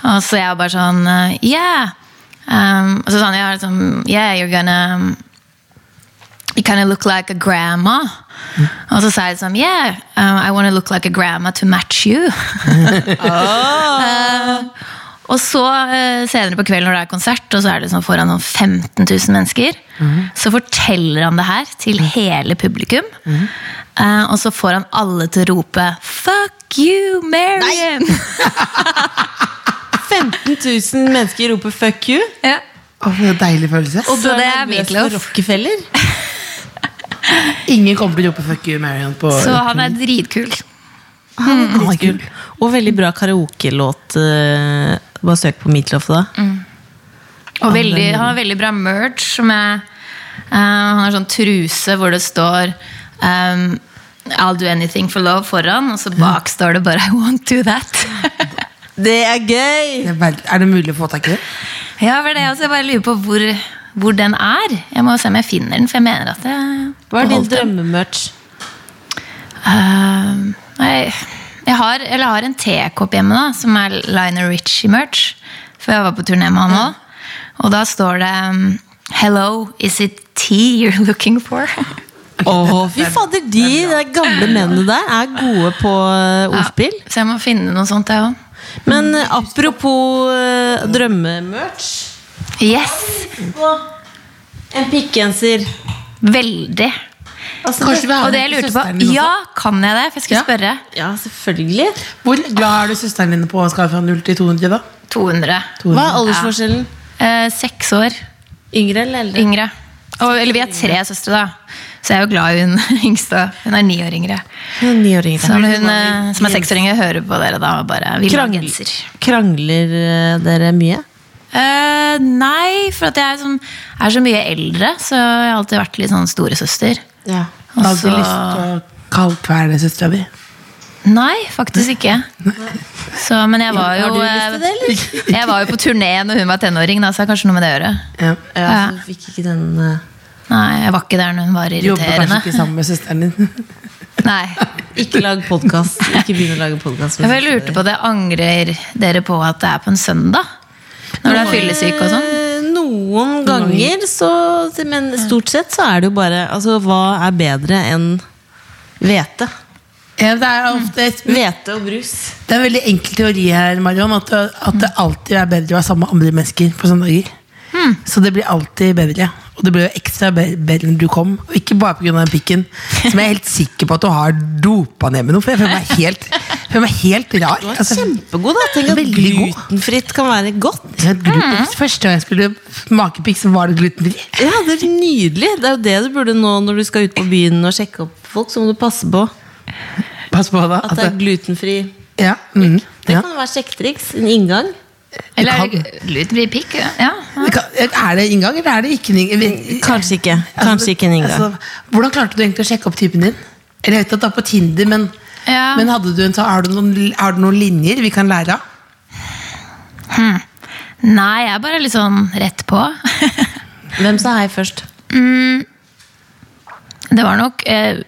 Speaker 7: Og så jeg bare sånn eh, Yeah! Um, og så sa han ja, liksom, yeah, you're gonna um, You kind of look like a grandma. Og så sa jeg sånn Yeah, um, I want to look like a grandma to match you. Og så eh, senere på kvelden når det er konsert, og så er det sånn foran sånn 15 000 mennesker, så forteller han det her til hele publikum. Eh, og så får han alle til å rope 'Fuck you, Marion'!
Speaker 3: 15 000 mennesker roper 'fuck you',
Speaker 7: ja.
Speaker 4: Å, for en deilig følelse.
Speaker 3: og du
Speaker 7: Så
Speaker 3: er
Speaker 7: det er
Speaker 3: nervøs
Speaker 7: Meatloaf.
Speaker 3: for Rockefeller?
Speaker 4: Ingen kommer til å rope 'fuck you, Marion' på
Speaker 7: Så han er dritkul.
Speaker 4: Han er kul.
Speaker 3: Og veldig bra karaokelåt. eh, Bare søk på Meatloaf, da.
Speaker 7: Og veldig, han har veldig bra merch med eh, Han har sånn truse hvor det står ehm, I'll do anything for love foran, og så bak står det bare I won't do that.
Speaker 3: Det er gøy!
Speaker 4: Det Er veld- er det mulig å få tak i det?
Speaker 7: ja, for det altså, Jeg bare lurer på hvor, hvor den er. Jeg må se om jeg finner den, for jeg mener at jeg
Speaker 3: Hva er din
Speaker 7: beholdt den.
Speaker 3: drømmemerch?
Speaker 7: Ehm, nei, jeg har, eller jeg har en tekopp hjemme da, som er Lionel Richie-merch. For jeg var på turné med han òg. Og da står det ehm, Hello, is it tea you're looking for?
Speaker 3: Åh, fy fader, de der gamle mennene der er gode på eh, ordspill.
Speaker 7: Så jeg må finne noe sånt, jeg òg.
Speaker 3: Men eh, apropos eh, drømmemerch
Speaker 7: Yes!
Speaker 3: En pikkgenser.
Speaker 7: Veldig.
Speaker 3: Altså,
Speaker 4: Kanskje vi har
Speaker 7: Og
Speaker 4: den
Speaker 7: det jeg
Speaker 4: til
Speaker 7: lurte
Speaker 4: søsteren
Speaker 7: på
Speaker 4: din også?
Speaker 7: Ja, kan jeg det? For jeg skulle spørre.
Speaker 3: Ja, selvfølgelig.
Speaker 4: Hvor glad er du søsteren din på å skala fra 0 til 200, da?
Speaker 7: 200.
Speaker 3: Hva er aldersforskjellen?
Speaker 7: Eh, seks år
Speaker 3: Yngre eller eldre?
Speaker 7: yngre. Og, eller vi er tre søstre, da. Så jeg er jo glad i hun yngste. Hun er ni år yngre.
Speaker 3: Ni år yngre.
Speaker 7: Så når hun eh, som er seksåring, hører på dere da og bare vil ha
Speaker 3: Krangel-
Speaker 7: genser.
Speaker 3: Krangler eh, dere mye?
Speaker 7: Eh, nei, for at jeg er, sånn, er så mye eldre, så jeg har alltid vært litt sånn storesøster.
Speaker 3: Ja.
Speaker 7: Og
Speaker 4: Har du
Speaker 7: så-
Speaker 4: lyst til å kaldkvele søstera di?
Speaker 7: Nei, faktisk ikke. Så, men jeg var jo eh,
Speaker 3: Har du lyst til det, eller?
Speaker 7: Jeg var jo på turné når hun var tenåring, da, så det er kanskje noe med det å gjøre.
Speaker 4: Ja.
Speaker 3: Ja,
Speaker 7: Ja.
Speaker 3: så fikk ikke den eh,
Speaker 7: Nei, jeg var ikke der når hun var
Speaker 4: Du jobber kanskje ikke
Speaker 7: irriterende.
Speaker 4: sammen med søsteren din?
Speaker 7: Nei.
Speaker 3: Ikke lag podkast. Ikke begynn å lage podkast.
Speaker 7: Jeg lurte på det. Angrer dere på at det er på en søndag? Når du er fyllesyk og sånn?
Speaker 3: Noen ganger, så, men stort sett så er det jo bare Altså, hva er bedre enn hvete?
Speaker 4: Ja, det er ofte
Speaker 3: Hvete og brus.
Speaker 4: Det er en veldig enkel teori her, Marion, at, at det alltid er bedre å være sammen med andre mennesker på sånne dager.
Speaker 3: Hmm.
Speaker 4: Så det blir alltid bedre. Og det ble jo ekstra be- bedre når du kom. Og ikke bare pga. pikken, som jeg er helt sikker på at du har dopa ned med noe. For jeg føler meg helt, jeg føler meg helt rar.
Speaker 3: Du var
Speaker 4: Altså,
Speaker 3: kjempegod, da. Tenk at
Speaker 4: Veldig god.
Speaker 3: glutenfritt kan være godt.
Speaker 4: jeg hadde gluten-
Speaker 3: Hmm.
Speaker 4: Første gang jeg skulle smake pikk, så var det glutenfri.
Speaker 3: Ja, det er Nydelig. Det er jo det du burde nå når du skal ut på byen og sjekke opp folk. Så må du passe på
Speaker 4: Pass på, da.
Speaker 3: at det er glutenfri.
Speaker 4: Altså, ja, mm,
Speaker 3: Det
Speaker 4: ja.
Speaker 3: kan være sjekketriks. En inngang.
Speaker 7: Eller
Speaker 4: kan.
Speaker 7: er det glutenfri pikk? Ja. ja.
Speaker 4: Det kan- Er det inngang, eller er det ikke inngang?
Speaker 3: Kanskje ikke. Kanskje ikke en inngang.
Speaker 4: Altså, hvordan klarte du egentlig å sjekke opp typen din? Eller jeg vet at det er på Tinder, men,
Speaker 7: Ja.
Speaker 4: men hadde du en, så, har, du noen, har du noen linjer vi kan lære av?
Speaker 7: Nei, jeg er bare litt sånn rett på.
Speaker 3: Hvem sa hei først?
Speaker 7: Det var nok eh,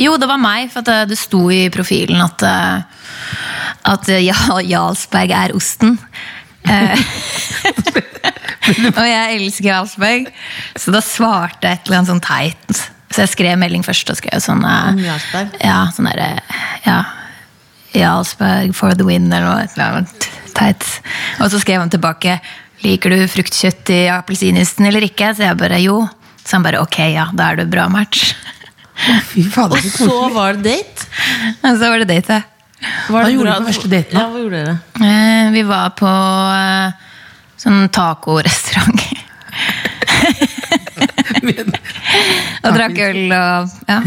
Speaker 7: Jo, det var meg, for at eh, det sto i profilen at eh, At eh, ja, Jarlsberg er osten. Eh, og jeg elsker Jarlsberg, så da svarte jeg et eller annet sånn teit. Så jeg skrev melding først og skrev sånn eh,
Speaker 3: Om Jarlsberg?
Speaker 7: Ja, sånn derre Ja. Jarlsberg for the win, eller noe et eller annet teit. Og så skrev han tilbake Liker du fruktkjøtt i appelsinjuicen eller ikke? Så jeg bare jo. Så han bare ok, ja, da er du bra match.
Speaker 4: Fy fader, så
Speaker 3: Så
Speaker 4: koselig.
Speaker 3: var det date.
Speaker 7: Og så var det date.
Speaker 3: Var
Speaker 4: Hva
Speaker 3: det
Speaker 4: gjorde
Speaker 3: bra-
Speaker 4: du på første daten, da?
Speaker 3: Ja, hva gjorde dere?
Speaker 7: Eh, Vi var på eh, sånn tacorestaurant. og drakk øl og ja,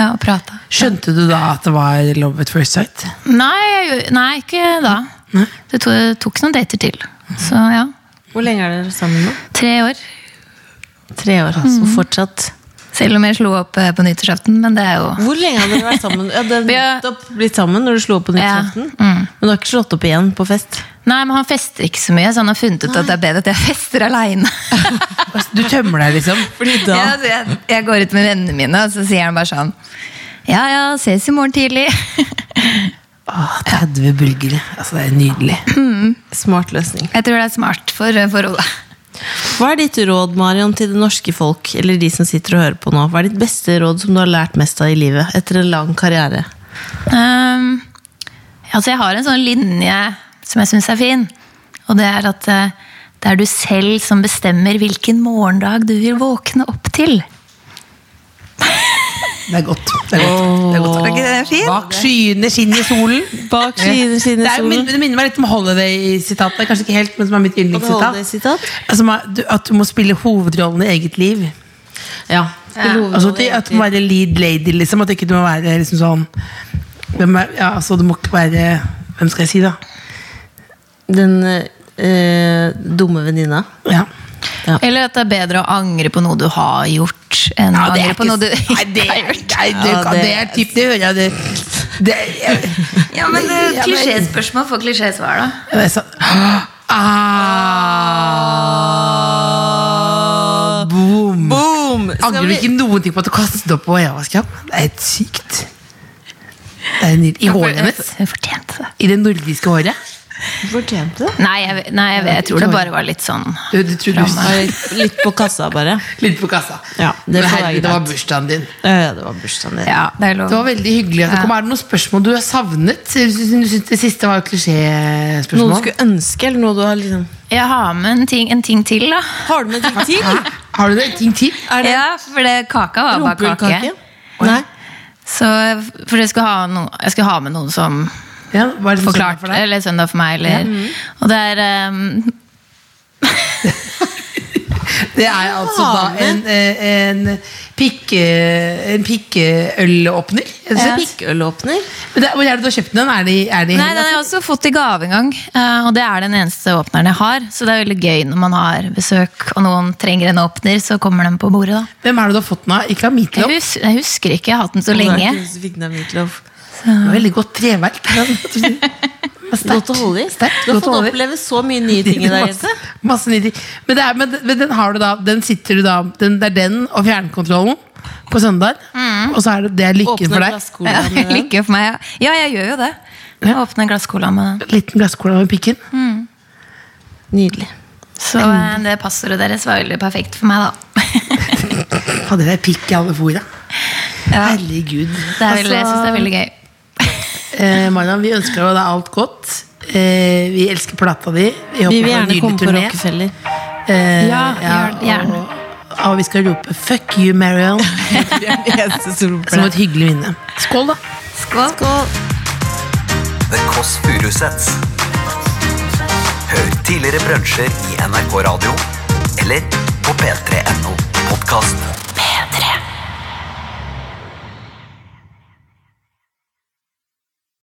Speaker 7: ja og prata.
Speaker 4: Skjønte du da at det var love at first sight?
Speaker 7: Nei, jeg gjorde- nei, ikke da. Det to, tok noen dater til. Så ja,
Speaker 3: Hvor lenge er dere sammen nå?
Speaker 7: tre år.
Speaker 3: Tre år. Så fortsatt.
Speaker 7: Selv om jeg slo opp eh, på nyttårsaften, men det er jo
Speaker 3: Hvor lenge har dere vært sammen? Ja, dere
Speaker 7: Vi
Speaker 3: har
Speaker 7: har-
Speaker 3: nettopp blitt sammen når du slo opp på nyttårsaften.
Speaker 7: Ja, mm.
Speaker 3: Men du har ikke slått opp igjen på fest?
Speaker 7: Nei, men han fester ikke så mye, så han har funnet ut at det er bedre at jeg fester aleine.
Speaker 4: Altså, Du tømmer deg, liksom.
Speaker 3: Fordi da
Speaker 7: ja, så jeg, jeg går ut med vennene mine, og så sier han bare sånn Ja ja, ses i morgen tidlig.
Speaker 4: Å, 30 bulgere. Altså, det er nydelig.
Speaker 3: Smart løsning.
Speaker 7: Jeg tror det er smart for eh, forholdet.
Speaker 3: Hva er ditt råd Marion, til det norske folk, eller de som sitter og hører på nå? Hva er ditt beste råd som du har lært mest av i livet etter en lang karriere?
Speaker 7: Ehm, altså jeg har en sånn linje som jeg syns er fin. Og Og det er at eh, det er du selv som bestemmer hvilken morgendag du vil våkne opp til.
Speaker 4: Det er godt. Det er godt. Det er godt.
Speaker 5: Er ikke det fint?
Speaker 4: Bak skyene skinner solen.
Speaker 3: Bak skyene skinner
Speaker 4: Det, er, jo min-
Speaker 3: solen.
Speaker 4: det minner meg litt om Holiday-sitatet. Kanskje ikke helt, men som er mitt
Speaker 3: Holiday-sitat?
Speaker 4: yndlingssitat. Som er, du- At du må spille hovedrollen i eget liv.
Speaker 3: Ja.
Speaker 4: Altså at, du- at du må være lead lady, liksom. At ikke du må være liksom sånn hvem er, ja, altså, Du må ikke være Hvem skal jeg si, da?
Speaker 3: Den eh, dumme venninna.
Speaker 4: Ja.
Speaker 5: Eller at det er bedre å angre på noe du har gjort, enn å
Speaker 4: Ja,
Speaker 5: angre på noe du
Speaker 4: nei, det,
Speaker 5: ikke har
Speaker 4: nei,
Speaker 5: gjort.
Speaker 4: du
Speaker 3: Ja,
Speaker 4: kan-
Speaker 3: det-
Speaker 4: det er typ Det hører jeg det, det
Speaker 7: Ja, men eh,
Speaker 4: Ja, men-
Speaker 7: Klisjéspørsmål for klisjésvar, da.
Speaker 4: Ja, det er sånn ah, Boom!
Speaker 3: Boom!
Speaker 4: Angrer du ikke noen ting på at du kastet opp på Eva-skap? Det er helt sykt. Det er nydelig. I håret hennes.
Speaker 7: Hun fortjente det.
Speaker 4: I det nordiske håret.
Speaker 3: Fortjente det.
Speaker 7: Nei, jeg, nei jeg, vet- jeg tror det bare var litt sånn
Speaker 4: Du, du tror du
Speaker 7: Framme.
Speaker 3: Litt på kassa, bare.
Speaker 4: Litt på kassa.
Speaker 3: Ja, det
Speaker 4: Men
Speaker 3: får være
Speaker 4: herregud, det var
Speaker 3: greit.
Speaker 4: bursdagen din.
Speaker 3: Ja, det var bursdagen din.
Speaker 7: Ja, det er lov.
Speaker 4: Det var veldig hyggelig. at det kom. Er det noen spørsmål du har savnet? Du synes det siste var klisjéspørsmål?
Speaker 3: Noe du skulle ønske, eller noe du har liksom
Speaker 7: Jeg har med en ting, en ting til, da.
Speaker 3: Har du med ting til?
Speaker 4: Har du det? Ting til?
Speaker 3: Er det
Speaker 7: Ja, for det, kaka var bare kake.
Speaker 3: rumpehullkake? Nei.
Speaker 7: Så, for jeg skulle, ha noe, jeg skulle ha med noen som
Speaker 4: Ja, hva er det som
Speaker 7: forklart,
Speaker 4: skjer for deg?
Speaker 7: eller søndag for meg, eller Og det er ehm,
Speaker 4: Det er altså da en, eh, en, pikke, en pikkeølåpner. rett og
Speaker 7: Ja.
Speaker 4: slett.
Speaker 3: Pikkølåpner?
Speaker 4: Men det, hvor er det du har kjøpt den? Er det, i- er det i-
Speaker 7: Nei, den har jeg også fått i gave en gang. eh, Og det er den eneste åpneren jeg har. Så det er veldig gøy når man har besøk og noen trenger en åpner, så kommer den på bordet, da.
Speaker 4: Hvem er det du har fått den av? Ikke av Meatloaf?
Speaker 7: Jeg, hus jeg husker ikke, jeg har hatt den så lenge.
Speaker 3: Hvis du fikk den av meatloaf.
Speaker 4: Det var Veldig godt treverk.
Speaker 3: Godt å holde i.
Speaker 4: Sterkt,
Speaker 3: Du har
Speaker 4: godt å
Speaker 3: fått
Speaker 4: holde i.
Speaker 3: oppleve så mye nye ting i dag,
Speaker 4: Masse,
Speaker 3: Jette.
Speaker 4: masse nye ting. Men, det er, men, men den har du da Den sitter du da den, Det er den og fjernkontrollen på søndag. Og så er det, det er lykken
Speaker 3: Mm. Åpne
Speaker 4: for deg.
Speaker 3: glasskola med den.
Speaker 7: Lykke for meg. Ja, jeg gjør jo det. Jeg åpner en glass cola med den.
Speaker 4: Liten glasscola med pikken.
Speaker 3: Mm. Nydelig.
Speaker 7: Så eh, det passordet deres var veldig perfekt for meg, da.
Speaker 4: Hadde dere pikk i alle fora? Herregud.
Speaker 7: Det er veldig, jeg syns det er veldig gøy.
Speaker 4: Eh, Marian, vi ønsker deg alt godt. Eh, vi elsker plata di. Vi håper
Speaker 3: Vi vil
Speaker 4: på en
Speaker 3: gjerne
Speaker 4: nydelig
Speaker 3: komme på
Speaker 4: turné.
Speaker 3: Rockefeller.
Speaker 4: Eh,
Speaker 7: Ja, gjør det, gjerne.
Speaker 4: Og, og vi skal rope 'fuck you, Marion' som et hyggelig minne. Skål, da.
Speaker 7: Skål.
Speaker 2: The Kåss Furuseths. Hør tidligere brunsjer i NRK Radio eller på p3.no podkast.